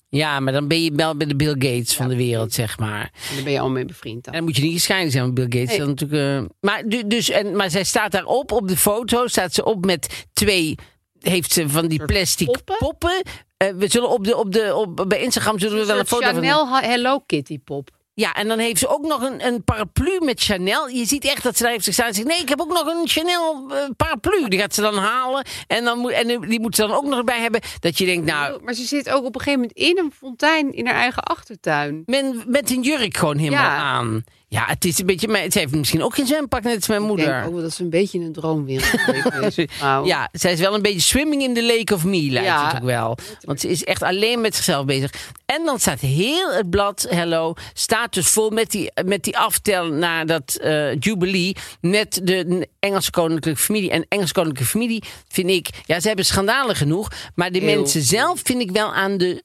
Speaker 1: ja, maar dan ben je wel bij de Bill Gates van de wereld, zeg maar.
Speaker 3: En daar ben je al mee bevriend
Speaker 1: En
Speaker 3: dan.
Speaker 1: dan moet je niet gescheiden zijn met Bill Gates.
Speaker 3: Nee.
Speaker 1: Dan natuurlijk, eh, maar, du- dus, en, maar zij staat daarop, op de foto, staat ze op met twee heeft ze van die plastic poppen.
Speaker 3: poppen?
Speaker 1: Eh, we zullen op de, op de, op, bij Instagram zullen we wel een
Speaker 3: soort
Speaker 1: foto van
Speaker 3: Chanel Ha- Hello Kitty pop.
Speaker 1: Ja, en dan heeft ze ook nog een, een paraplu met Chanel. Je ziet echt dat ze daar heeft gestaan en zegt... nee, ik heb ook nog een Chanel eh, paraplu. Die gaat ze dan halen. En, dan moet, en die moet ze dan ook nog erbij hebben. Dat je denkt, nou,
Speaker 3: Maar ze zit ook op een gegeven moment in een fontein in haar eigen achtertuin.
Speaker 1: men, met een jurk gewoon helemaal
Speaker 3: Ja.
Speaker 1: aan. Ja, het is een beetje... mijn- Ze heeft misschien ook geen zwempak, net als mijn
Speaker 3: Ik
Speaker 1: moeder.
Speaker 3: denk ook wel dat ze een beetje een droomwereld Nou, heeft, deze vrouw.
Speaker 1: Ja, zij is wel een beetje swimming in the lake of me, lijkt
Speaker 3: Ja.
Speaker 1: het ook wel. Want ze is echt alleen met zichzelf bezig. En dan staat heel het blad, hello, staat dus vol met die, met die aftel naar dat eh, jubilee met de Engelse koninklijke familie. En Engelse koninklijke familie vind ik, ja, ze hebben schandalen genoeg, maar de
Speaker 3: Heel.
Speaker 1: mensen zelf vind ik wel aan de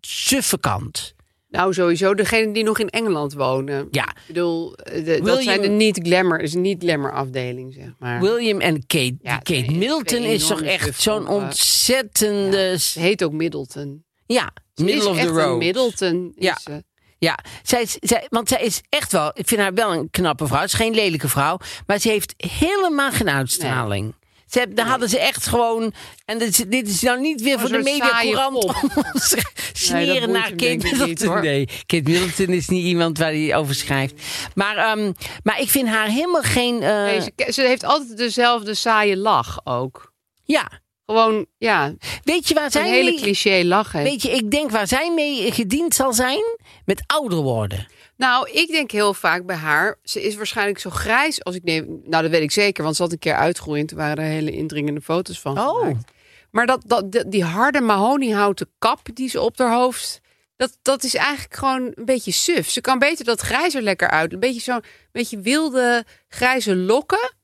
Speaker 1: suffe kant.
Speaker 3: Nou, sowieso degene die nog in Engeland wonen.
Speaker 1: Ja.
Speaker 3: Ik bedoel, eh, de-
Speaker 1: William-
Speaker 3: dat zijn de niet-glamour, is niet-glamour afdeling, zeg maar.
Speaker 1: William en Kate,
Speaker 3: Ja,
Speaker 1: die Kate
Speaker 3: twee-
Speaker 1: Middleton
Speaker 3: twee
Speaker 1: is toch
Speaker 3: enorme
Speaker 1: echt
Speaker 3: suffe
Speaker 1: zo'n
Speaker 3: koppen.
Speaker 1: ontzettende...
Speaker 3: Ze
Speaker 1: Ja,
Speaker 3: heet ook Middleton. Ze is
Speaker 1: middle of
Speaker 3: echt
Speaker 1: the road.
Speaker 3: Een Middleton is
Speaker 1: Ja.
Speaker 3: ze.
Speaker 1: Ja, zij, is- zij, want zij is echt wel, ik vind haar wel een knappe vrouw. Ze is geen lelijke vrouw, maar ze heeft helemaal geen uitstraling. Ze heb- daar hadden ze echt gewoon. En dit is, dit is nou niet weer voor de
Speaker 3: een soort Oh, saaie
Speaker 1: mediacourant
Speaker 3: pop.
Speaker 1: om ons te
Speaker 3: Nee, dat
Speaker 1: sneren
Speaker 3: boeit
Speaker 1: naar
Speaker 3: hem
Speaker 1: Kate
Speaker 3: denk ik niet,
Speaker 1: Middleton.
Speaker 3: hoor.
Speaker 1: nee, Kate Middleton is niet iemand waar hij over schrijft. Maar, ehm, maar ik vind haar helemaal geen. eh,
Speaker 3: Nee, ze, ke- ze heeft altijd dezelfde saaie lach ook.
Speaker 1: Ja,
Speaker 3: Gewoon, ja,
Speaker 1: weet je waar
Speaker 3: een
Speaker 1: zij
Speaker 3: hele
Speaker 1: mee,
Speaker 3: cliché lach heeft.
Speaker 1: Weet je, ik denk waar zij mee gediend zal zijn met ouder worden.
Speaker 3: Nou, ik denk heel vaak bij haar. Ze is waarschijnlijk zo grijs als ik neem. Nou, dat weet ik zeker, want ze had een keer uitgroeiend. Toen waren er hele indringende foto's van.
Speaker 1: Oh.
Speaker 3: gemaakt. Maar dat, dat, dat- die harde mahoniehouten kap die ze op haar hoofd. Dat, dat is eigenlijk gewoon een beetje suf. Ze kan beter dat grijs er lekker uit. Een beetje zo'n beetje wilde grijze lokken.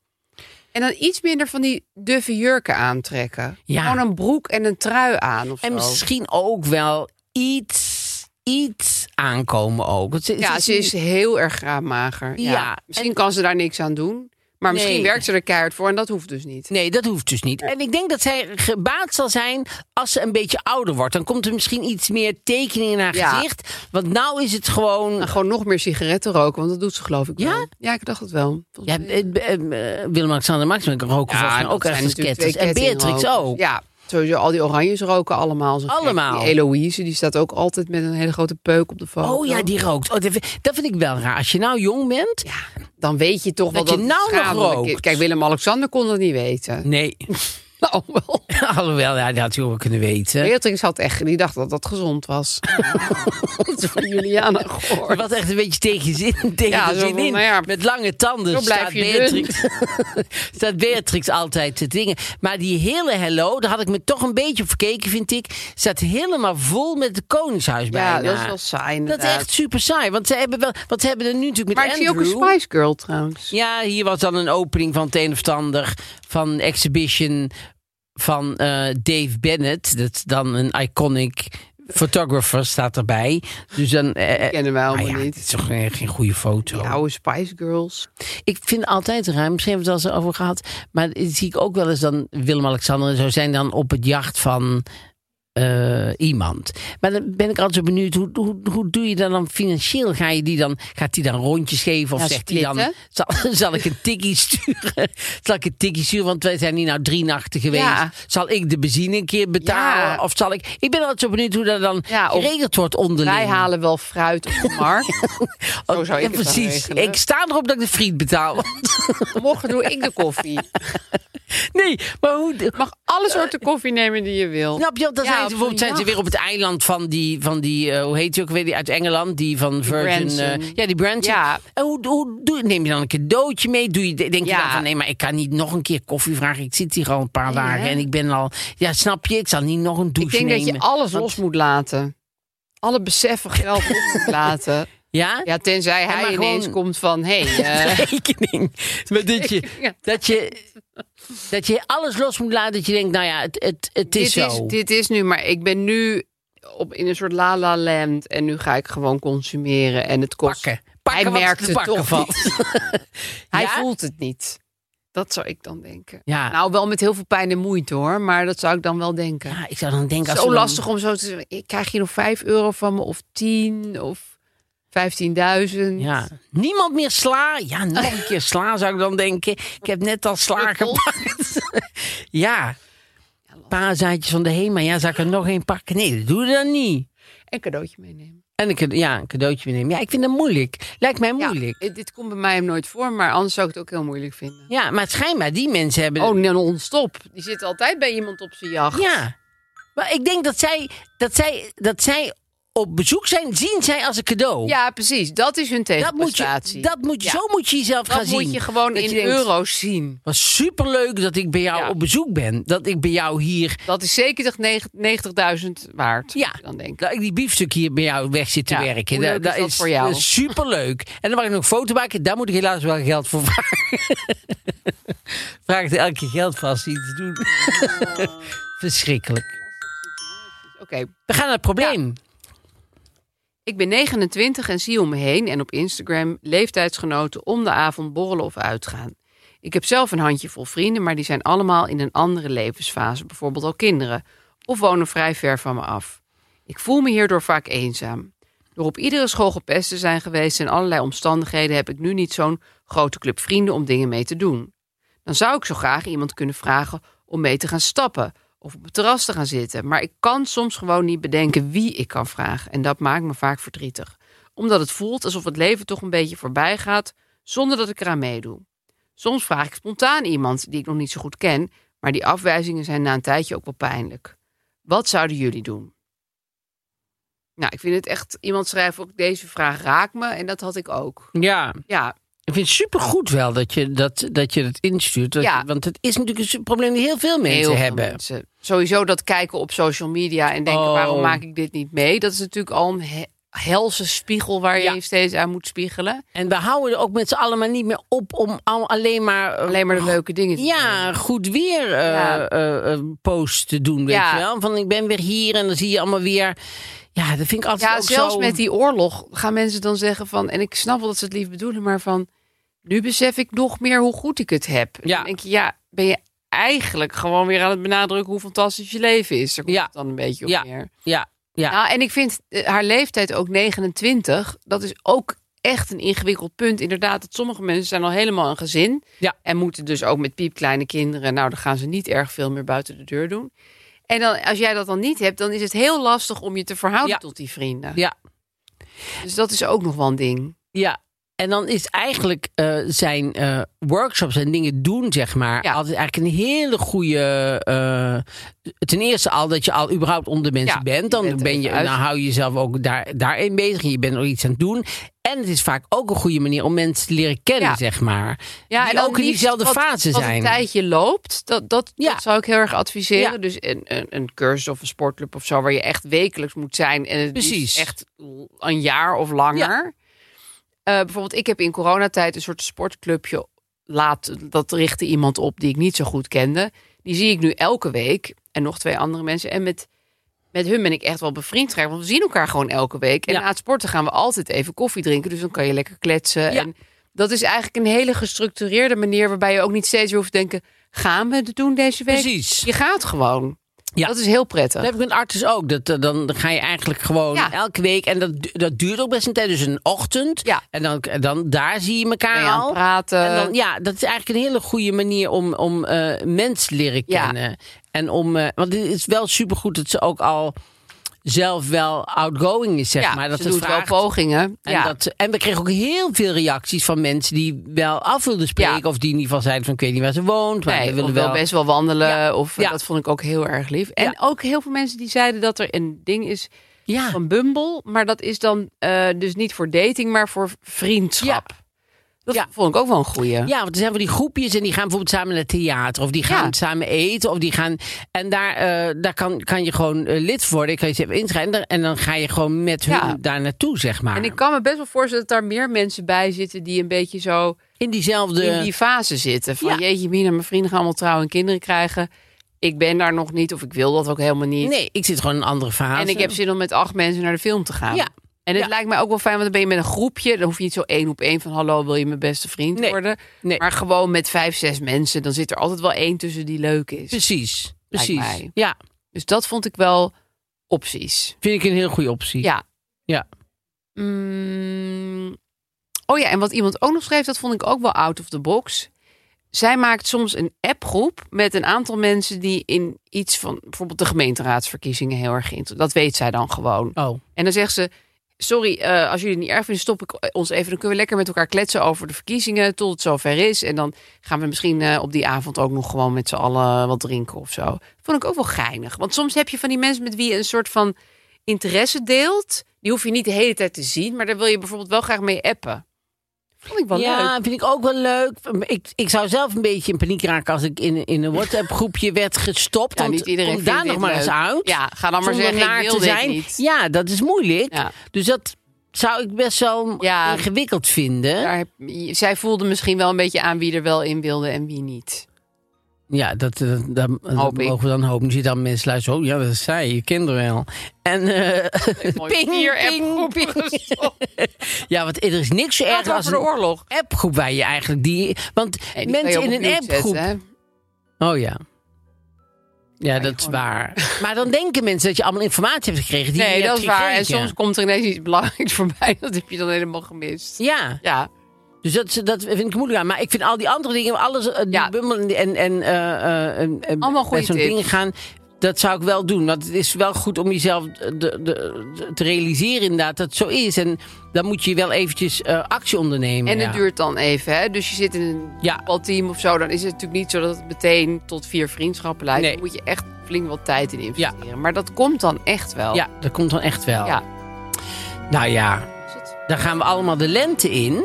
Speaker 3: En dan iets minder van die duffe jurken aantrekken.
Speaker 1: Ja.
Speaker 3: Gewoon een broek en een trui aan of
Speaker 1: En
Speaker 3: zo.
Speaker 1: misschien ook wel iets, iets aankomen ook. Want
Speaker 3: Ja, ze is heel erg graadmager. Ja.
Speaker 1: Ja,
Speaker 3: Misschien kan ze daar niks aan doen. Maar misschien
Speaker 1: Nee.
Speaker 3: werkt ze er keihard voor en dat hoeft dus niet.
Speaker 1: Nee, dat hoeft dus niet. En ik denk dat zij gebaat zal zijn als ze een beetje ouder wordt. Dan komt er misschien iets meer tekening in haar
Speaker 3: Ja.
Speaker 1: gezicht. Want nou is het gewoon...
Speaker 3: Nou, gewoon nog meer sigaretten roken, want dat doet ze geloof ik
Speaker 1: Ja?
Speaker 3: wel. Ja, ik dacht het wel. Volgens
Speaker 1: Ja,
Speaker 3: mij-
Speaker 1: eh, eh, eh, Willem-Alexander Max roken volgens mij
Speaker 3: dat
Speaker 1: ook
Speaker 3: zijn
Speaker 1: ergens
Speaker 3: natuurlijk
Speaker 1: ketters.
Speaker 3: twee
Speaker 1: En Beatrix
Speaker 3: kettingrokers.
Speaker 1: ook.
Speaker 3: Ja, sowieso al die oranjes roken allemaal. zo gek.
Speaker 1: Allemaal.
Speaker 3: Die Eloïse, die staat ook altijd met een hele grote peuk op de foto.
Speaker 1: Oh ja, die rookt. Oh, dat, vind, dat vind ik wel raar. Als je nou jong bent...
Speaker 3: Dan weet je toch wel
Speaker 1: Dat
Speaker 3: dat,
Speaker 1: je
Speaker 3: het
Speaker 1: nou nog
Speaker 3: schadelijk is.
Speaker 1: rookt.
Speaker 3: Kijk, Willem-Alexander kon dat niet weten.
Speaker 1: Nee.
Speaker 3: Nou, wel.
Speaker 1: Alhoewel, ja, dat had je ook wel kunnen weten.
Speaker 3: Beatrix had echt, die dacht dat dat gezond was. dat is van Juliana gehoord.
Speaker 1: Wat echt een beetje tegen je zin, tegen
Speaker 3: Ja,
Speaker 1: de
Speaker 3: zo
Speaker 1: zin
Speaker 3: van,
Speaker 1: in.
Speaker 3: nou ja,
Speaker 1: Met lange tanden
Speaker 3: zo blijf
Speaker 1: staat,
Speaker 3: je
Speaker 1: Beatrix, staat Beatrix altijd te dingen. Maar die hele hello, daar had ik me toch een beetje op verkeken, vind ik. Staat helemaal vol met het Koningshuis
Speaker 3: Ja,
Speaker 1: bijna.
Speaker 3: dat is wel saai
Speaker 1: Dat
Speaker 3: inderdaad.
Speaker 1: is echt super saai. Want ze hebben, wel, want ze hebben er nu natuurlijk met
Speaker 3: Maar ik zie ook een
Speaker 1: Andrew...
Speaker 3: Spice Girl trouwens.
Speaker 1: Ja, hier was dan een opening van het een of het ander. Van Exhibition van eh, Dave Bennett. Dat is dan een iconic photographer staat erbij. Dus dan... eh, eh,
Speaker 3: Kennen wij allemaal
Speaker 1: nou ja,
Speaker 3: niet.
Speaker 1: het is toch geen, geen goede foto.
Speaker 3: Die oude Spice Girls.
Speaker 1: Ik vind altijd ruim, misschien hebben we het al eens over gehad. Maar zie ik ook wel eens dan Willem-Alexander en zo zijn dan op het jacht van eh, iemand. Maar dan ben ik altijd zo benieuwd, hoe, hoe, hoe doe je dat dan financieel? Ga je die dan, gaat die dan rondjes geven? Of
Speaker 3: Ja,
Speaker 1: zegt hij dan,
Speaker 3: splitten.
Speaker 1: zal, zal ik een tikkie sturen? zal ik een tikkie sturen? Want wij zijn hier nou drie nachten geweest.
Speaker 3: Ja.
Speaker 1: Zal ik de benzine een keer betalen?
Speaker 3: Ja.
Speaker 1: Of zal ik... Ik ben altijd zo benieuwd hoe dat dan
Speaker 3: Ja, of
Speaker 1: geregeld wordt onderling.
Speaker 3: Wij halen wel fruit op de markt. Zo zou
Speaker 1: Oh, Ja,
Speaker 3: ik het dan
Speaker 1: precies.
Speaker 3: regelen.
Speaker 1: Ik sta erop dat ik de friet betaal.
Speaker 3: Morgen doe ik de koffie.
Speaker 1: Nee, maar hoe...
Speaker 3: Je mag alle soorten koffie nemen die je wil.
Speaker 1: Snap je? Dan
Speaker 3: Ja,
Speaker 1: zijn
Speaker 3: op
Speaker 1: ze, bijvoorbeeld
Speaker 3: zo'n
Speaker 1: zijn ze
Speaker 3: jacht.
Speaker 1: weer op het eiland van die, van die eh, hoe heet die ook weer, die uit Engeland, die van Virgin.
Speaker 3: Branson.
Speaker 1: eh, ja, die Branson.
Speaker 3: Ja.
Speaker 1: En hoe, hoe doe je, neem je dan een cadeautje mee? Doe je, denk je
Speaker 3: Ja.
Speaker 1: dan van, nee, maar ik kan niet nog een keer koffie vragen. Ik zit hier al een paar
Speaker 3: Nee,
Speaker 1: dagen
Speaker 3: hè?
Speaker 1: en ik ben al, ja, snap je? Ik zal niet nog een
Speaker 3: Ik
Speaker 1: douche
Speaker 3: denk
Speaker 1: nemen.
Speaker 3: dat je alles
Speaker 1: Want-
Speaker 3: los moet laten. Alle beseffen geld los moet laten.
Speaker 1: Ja?
Speaker 3: Ja, tenzij hij
Speaker 1: maar
Speaker 3: ineens
Speaker 1: gewoon-
Speaker 3: komt van... Hé, hey, eh,
Speaker 1: rekening. Maar dat je,
Speaker 3: Ja.
Speaker 1: dat, je, dat je alles los moet laten. Dat je denkt, nou ja, het, het, het is
Speaker 3: dit,
Speaker 1: zo.
Speaker 3: is, dit is nu, maar ik ben nu op, in een soort la-la land. En nu ga ik gewoon consumeren. En het kost...
Speaker 1: pakken. Pakken
Speaker 3: hij
Speaker 1: wat
Speaker 3: merkt
Speaker 1: te
Speaker 3: het
Speaker 1: pakken
Speaker 3: toch
Speaker 1: valt.
Speaker 3: Hij
Speaker 1: Ja?
Speaker 3: voelt het niet. Dat zou ik dan denken.
Speaker 1: Ja.
Speaker 3: Nou, wel met heel veel pijn en moeite hoor, maar dat zou ik dan wel denken.
Speaker 1: Ja, ik zou dan denken... Als
Speaker 3: Zo
Speaker 1: we dan-
Speaker 3: lastig om zo te zeggen, ik krijg je nog 5 euro van me of 10 of 15.000.
Speaker 1: Ja. Niemand meer sla. Ja, nog een keer sla zou ik dan denken. Ik heb net al sla
Speaker 3: Knuffel.
Speaker 1: gepakt. ja.
Speaker 3: lastig.
Speaker 1: Paazaadjes van de HEMA. Ja, zou ik er nog één pakken? Nee, dat doe je dan niet.
Speaker 3: En cadeautje meenemen.
Speaker 1: En een, cade- ja, een cadeautje meenemen. Ja, ik vind dat moeilijk. Lijkt mij moeilijk. Ja,
Speaker 3: Ja, dit komt bij mij hem nooit voor, maar anders zou ik het ook heel moeilijk vinden.
Speaker 1: maar schijnbaar, die mensen hebben...
Speaker 3: Oh, nee, non-stop. Die zit altijd bij iemand op zijn jacht.
Speaker 1: Ja. Maar ik denk dat zij, dat, zij, dat zij op bezoek zijn, zien zij als een cadeau.
Speaker 3: Ja, precies. Dat is hun
Speaker 1: dat moet je,
Speaker 3: tegenprestatie.
Speaker 1: dat moet je,
Speaker 3: Ja.
Speaker 1: zo moet je jezelf
Speaker 3: Dat
Speaker 1: gaan zien.
Speaker 3: moet je gewoon
Speaker 1: Dat je
Speaker 3: in de
Speaker 1: denkt,
Speaker 3: euro's zien.
Speaker 1: Wat superleuk dat ik bij jou
Speaker 3: Ja.
Speaker 1: op bezoek ben. Dat ik bij jou hier,
Speaker 3: Dat is zeker toch negen- 90.000 waard.
Speaker 1: Ja.
Speaker 3: Dan denk ik.
Speaker 1: dat ik die biefstuk hier bij jou weg zit te
Speaker 3: Ja,
Speaker 1: werken.
Speaker 3: hoe
Speaker 1: Da-
Speaker 3: leuk is dat voor jou?
Speaker 1: dat is superleuk. En dan mag ik nog een foto maken. Daar moet ik helaas wel geld voor vragen. Vraag het elke keer geld voor als ze iets doen. Verschrikkelijk.
Speaker 3: Oké,
Speaker 1: We gaan naar het probleem.
Speaker 3: ik ben 29 en zie om me heen en op Instagram leeftijdsgenoten om de avond borrelen of uitgaan. Ik heb zelf een handjevol vrienden, maar die zijn allemaal in een andere levensfase, bijvoorbeeld al kinderen, of wonen vrij ver van me af. Ik voel me hierdoor vaak eenzaam. Door op iedere school gepest te zijn geweest in allerlei omstandigheden heb ik nu niet zo'n grote club vrienden om dingen mee te doen. Dan zou ik zo graag iemand kunnen vragen om mee te gaan stappen of op het terras te gaan zitten. Maar ik kan soms gewoon niet bedenken wie ik kan vragen. En dat maakt me vaak verdrietig. Omdat het voelt alsof het leven toch een beetje voorbij gaat zonder dat ik eraan meedoe. Soms vraag ik spontaan iemand die ik nog niet zo goed ken, maar die afwijzingen zijn na een tijdje ook wel pijnlijk. Wat zouden jullie doen? Nou, ik vind het echt. Iemand schrijft ook deze vraag raakt me en dat had ik ook.
Speaker 1: Ja,
Speaker 3: Ja,
Speaker 1: ik vind het supergoed wel dat je dat, dat, je dat instuurt. Dat-
Speaker 3: Ja.
Speaker 1: Want het is natuurlijk een su- probleem die heel veel mensen
Speaker 3: heel veel
Speaker 1: hebben.
Speaker 3: mensen. Sowieso dat kijken op social media en denken
Speaker 1: Oh.
Speaker 3: waarom maak ik dit niet mee? Dat is natuurlijk al een he- helse spiegel waar je
Speaker 1: Ja.
Speaker 3: je steeds aan moet spiegelen.
Speaker 1: En we houden er ook met z'n allen maar niet meer op om al- alleen maar... eh,
Speaker 3: Alleen maar de leuke dingen. te doen.
Speaker 1: Ja, goed weer eh
Speaker 3: Ja.
Speaker 1: eh, eh, post te doen, weet
Speaker 3: Ja.
Speaker 1: je wel. Van ik ben weer hier en dan zie je allemaal weer... Ja, dat vind ik altijd
Speaker 3: Ja,
Speaker 1: ook
Speaker 3: zelfs
Speaker 1: zo...
Speaker 3: met die oorlog gaan mensen dan zeggen van... en ik snap wel dat ze het lief bedoelen, maar van... nu besef ik nog meer hoe goed ik het heb.
Speaker 1: Ja.
Speaker 3: Dan denk je, ja, ben je eigenlijk gewoon weer aan het benadrukken... hoe fantastisch je leven is. Daar komt
Speaker 1: Ja.
Speaker 3: het dan een beetje op
Speaker 1: Ja.
Speaker 3: neer.
Speaker 1: Ja, ja.
Speaker 3: Nou, en ik vind eh, haar leeftijd ook 29. Dat is ook echt een ingewikkeld punt. Inderdaad, dat sommige mensen zijn al helemaal een gezin.
Speaker 1: Ja.
Speaker 3: En moeten dus ook met piepkleine kinderen. Nou, dan gaan ze niet erg veel meer buiten de deur doen. En dan, als jij dat dan niet hebt, dan is het heel lastig om je te verhouden
Speaker 1: Ja.
Speaker 3: tot die vrienden.
Speaker 1: ja,
Speaker 3: Dus dat is ook nog wel een ding.
Speaker 1: ja. En dan is eigenlijk eh, zijn eh, workshops en dingen doen, zeg maar...
Speaker 3: Ja.
Speaker 1: altijd eigenlijk een hele goede... eh, ten eerste al dat je al überhaupt onder de mensen
Speaker 3: Ja,
Speaker 1: bent. Dan,
Speaker 3: je bent er
Speaker 1: ben je,
Speaker 3: even uit.
Speaker 1: dan hou je jezelf ook daar, daarin bezig. en Je bent er iets aan het doen. En het is vaak ook een goede manier om mensen te leren kennen,
Speaker 3: Ja.
Speaker 1: zeg maar.
Speaker 3: Ja,
Speaker 1: die
Speaker 3: en dan
Speaker 1: ook in
Speaker 3: liefst
Speaker 1: diezelfde
Speaker 3: wat-
Speaker 1: fase
Speaker 3: wat
Speaker 1: zijn.
Speaker 3: een tijdje loopt, dat, dat,
Speaker 1: Ja.
Speaker 3: dat zou ik heel erg adviseren.
Speaker 1: Ja.
Speaker 3: Dus een, een, een cursus of een sportclub of zo, waar je echt wekelijks moet zijn. En het liefst
Speaker 1: Precies.
Speaker 3: echt een jaar of langer. Eh, bijvoorbeeld, ik heb in coronatijd een soort sportclubje laat. Dat richtte iemand op die ik niet zo goed kende. Die zie ik nu elke week. En nog twee andere mensen. En met, met hun ben ik echt wel bevriend geraakt. Want we zien elkaar gewoon elke week. En
Speaker 1: Ja.
Speaker 3: na het sporten gaan we altijd even koffie drinken. Dus dan kan je lekker kletsen.
Speaker 1: Ja.
Speaker 3: En dat is eigenlijk een hele gestructureerde manier... waarbij je ook niet steeds weer hoeft te denken... gaan we het doen deze week?
Speaker 1: Precies.
Speaker 3: Je gaat gewoon.
Speaker 1: Ja.
Speaker 3: Dat is heel prettig.
Speaker 1: Dat heb ik met artis ook. Dat, eh, dan ga je eigenlijk gewoon
Speaker 3: Ja.
Speaker 1: elke week. En dat, du- dat duurt ook best een tijd. Dus een ochtend.
Speaker 3: Ja.
Speaker 1: En dan, en dan daar zie je
Speaker 3: Ben
Speaker 1: elkaar
Speaker 3: je aan het
Speaker 1: al.
Speaker 3: praten.
Speaker 1: En dan, ja, dat is eigenlijk een hele goede manier om, om eh, mensen te leren
Speaker 3: Ja.
Speaker 1: kennen. En om, eh, want het is wel supergoed dat ze ook al zelf wel outgoing is, zeg
Speaker 3: ja,
Speaker 1: maar. Dat
Speaker 3: ze doet
Speaker 1: vraagt.
Speaker 3: wel pogingen.
Speaker 1: En,
Speaker 3: ja.
Speaker 1: dat, en we kregen ook heel veel reacties van mensen die wel af wilden spreken.
Speaker 3: Ja.
Speaker 1: Of die in ieder geval zeiden van ik weet niet waar ze woont. Maar
Speaker 3: Nee,
Speaker 1: we willen
Speaker 3: of wel,
Speaker 1: wel
Speaker 3: best wel wandelen.
Speaker 1: Ja,
Speaker 3: Of eh,
Speaker 1: ja.
Speaker 3: dat vond ik ook heel erg lief. En
Speaker 1: Ja.
Speaker 3: ook heel veel mensen die zeiden dat er een ding is
Speaker 1: Ja.
Speaker 3: van Bumble. Maar dat is dan eh, dus niet voor dating, maar voor vriendschap. Dat
Speaker 1: Ja.
Speaker 3: vond ik ook wel een goeie.
Speaker 1: Ja, want er zijn wel die groepjes en die gaan bijvoorbeeld samen naar het theater. Of die gaan
Speaker 3: Ja.
Speaker 1: samen eten. Of die gaan, en daar, eh, daar kan, kan je gewoon eh, lid worden. Ik kan je ze even inschrijven. En daar- En dan ga je gewoon met hun
Speaker 3: Ja.
Speaker 1: daar naartoe, zeg maar.
Speaker 3: En ik kan me best wel voorstellen dat daar meer mensen bij zitten die een beetje zo
Speaker 1: in diezelfde...
Speaker 3: in die fase zitten. Van
Speaker 1: Ja.
Speaker 3: jeetje mina, mijn vrienden gaan allemaal trouwen en kinderen krijgen. Ik ben daar nog niet of ik wil dat ook helemaal niet.
Speaker 1: Nee, ik zit gewoon in een andere fase.
Speaker 3: En ik heb zin om met acht mensen naar de film te gaan.
Speaker 1: Ja.
Speaker 3: En het
Speaker 1: Ja.
Speaker 3: lijkt mij ook wel fijn, want dan ben je met een groepje. Dan hoef je niet zo één op één van hallo, wil je mijn beste vriend
Speaker 1: Nee.
Speaker 3: worden?
Speaker 1: Nee.
Speaker 3: Maar gewoon met vijf, zes mensen, dan zit er altijd wel één tussen die leuk is.
Speaker 1: Precies,
Speaker 3: Lijkt
Speaker 1: precies.
Speaker 3: mij.
Speaker 1: Ja,
Speaker 3: Dus dat vond ik wel opties.
Speaker 1: vind ik een heel goede optie.
Speaker 3: Ja.
Speaker 1: Ja.
Speaker 3: Mm. oh ja, en wat iemand ook nog schreef, dat vond ik ook wel out of the box. zij maakt soms een appgroep met een aantal mensen die in iets van bijvoorbeeld de gemeenteraadsverkiezingen heel erg in. Dat weet zij dan gewoon.
Speaker 1: Oh,
Speaker 3: En dan zegt ze: Sorry, eh, als jullie het niet erg vinden, stop ik eh, ons even. Dan kunnen we lekker met elkaar kletsen over de verkiezingen tot het zover is. En dan gaan we misschien eh, op die avond ook nog gewoon met z'n allen wat drinken of zo. Vond ik ook wel geinig. Want soms heb je van die mensen met wie je een soort van interesse deelt. Die hoef je niet de hele tijd te zien, maar daar wil je bijvoorbeeld wel graag mee appen. Vond ik wel
Speaker 1: ja,
Speaker 3: leuk.
Speaker 1: vind ik ook wel leuk. Ik, ik zou zelf een beetje in paniek raken als ik in, in een WhatsApp-groepje werd gestopt.
Speaker 3: Ja,
Speaker 1: want
Speaker 3: niet iedereen
Speaker 1: kom
Speaker 3: vindt
Speaker 1: daar
Speaker 3: dit
Speaker 1: nog maar eens
Speaker 3: leuk.
Speaker 1: uit.
Speaker 3: Ja, ga dan
Speaker 1: zonder
Speaker 3: maar zeggen, ik
Speaker 1: naar
Speaker 3: wil
Speaker 1: te
Speaker 3: dit
Speaker 1: zijn.
Speaker 3: niet.
Speaker 1: Ja, dat is moeilijk.
Speaker 3: Ja.
Speaker 1: Dus dat zou ik best wel
Speaker 3: Ja.
Speaker 1: ingewikkeld vinden.
Speaker 3: Daar heb- zij voelde misschien wel een beetje aan wie er wel in wilde en wie niet.
Speaker 1: Ja, dat, eh, dat, dat
Speaker 3: Hoop ik.
Speaker 1: mogen we dan hopen. Nu zitten dan mensen luisteren. Oh ja, dat is zij. Je kent haar wel. En eh,
Speaker 3: Mooi
Speaker 1: ping,
Speaker 3: vier
Speaker 1: ping,
Speaker 3: appgroepen
Speaker 1: ping.
Speaker 3: gestopt.
Speaker 1: Ja, want er is niks zo
Speaker 3: Gaat
Speaker 1: erg als
Speaker 3: over de
Speaker 1: een
Speaker 3: oorlog.
Speaker 1: appgroep waar je eigenlijk die... Want
Speaker 3: Nee, die kan je
Speaker 1: mensen
Speaker 3: op
Speaker 1: in
Speaker 3: het
Speaker 1: een
Speaker 3: mute zetten,
Speaker 1: appgroep...
Speaker 3: hè.
Speaker 1: Oh ja. Ja,
Speaker 3: je
Speaker 1: dat is
Speaker 3: gewoon-
Speaker 1: waar. Maar dan denken mensen dat je allemaal informatie hebt gekregen. Die je
Speaker 3: Nee,
Speaker 1: niet
Speaker 3: dat is
Speaker 1: hebt
Speaker 3: waar. En
Speaker 1: gekregen.
Speaker 3: soms komt er ineens iets belangrijks voorbij. Dat heb je dan helemaal gemist.
Speaker 1: Ja,
Speaker 3: Ja,
Speaker 1: dus dat, is- dat vind ik moeilijk aan. Maar ik vind al die andere dingen, alles, eh, die
Speaker 3: Ja.
Speaker 1: bummel en, en, en eh, eh, en-
Speaker 3: Allemaal goede
Speaker 1: met zo'n
Speaker 3: tips.
Speaker 1: dingen gaan, dat zou ik wel doen. Want het is wel goed om jezelf de, de, de- te realiseren inderdaad dat het zo is. En dan moet je wel eventjes eh, actie ondernemen.
Speaker 3: en
Speaker 1: ja.
Speaker 3: het duurt dan even. Hè? Dus je zit in een
Speaker 1: Ja.
Speaker 3: voetbalteam of zo. Dan is het natuurlijk niet zo dat het meteen tot vier vriendschappen leidt.
Speaker 1: Nee.
Speaker 3: Daar moet je echt flink wat tijd in investeren. Maar dat komt dan echt wel.
Speaker 1: Ja, dat komt dan echt wel.
Speaker 3: Ja.
Speaker 1: Nou ja,
Speaker 3: Is het
Speaker 1: dan gaan we allemaal de lente in.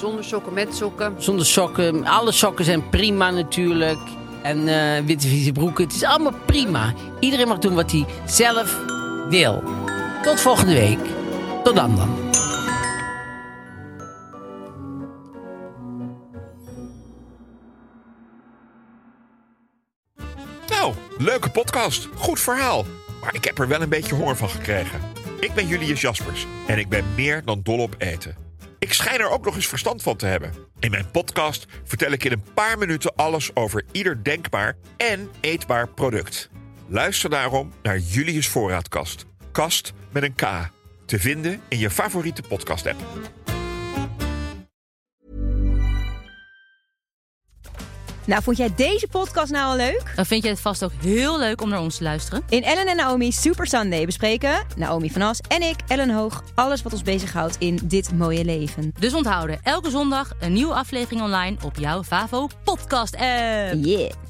Speaker 3: Zonder sokken, met sokken.
Speaker 1: Zonder sokken. Alle sokken zijn prima natuurlijk. En eh witte vieze broeken. Het is allemaal prima. Iedereen mag doen wat hij zelf wil. Tot volgende week. Tot dan dan.
Speaker 4: Nou, leuke podcast. Goed verhaal. Maar ik heb er wel een beetje honger van gekregen. Ik ben Julius Jaspers en ik ben meer dan dol op eten. Ik schijn er ook nog eens verstand van te hebben. In mijn podcast vertel ik in een paar minuten alles over ieder denkbaar en eetbaar product. Luister daarom naar Julius Voorraadkast. Kast met een K. Te vinden in je favoriete podcast-app.
Speaker 5: Nou, vond jij deze podcast nou al leuk?
Speaker 6: Dan vind je het vast ook heel leuk om naar ons te luisteren.
Speaker 5: In Ellen en Naomi Super Sunday bespreken Naomi van As en ik, Ellen Hoog, alles wat ons bezighoudt in dit mooie leven.
Speaker 6: Dus onthouden, elke zondag een nieuwe aflevering online op jouw Favo Podcast app.
Speaker 5: Yeah.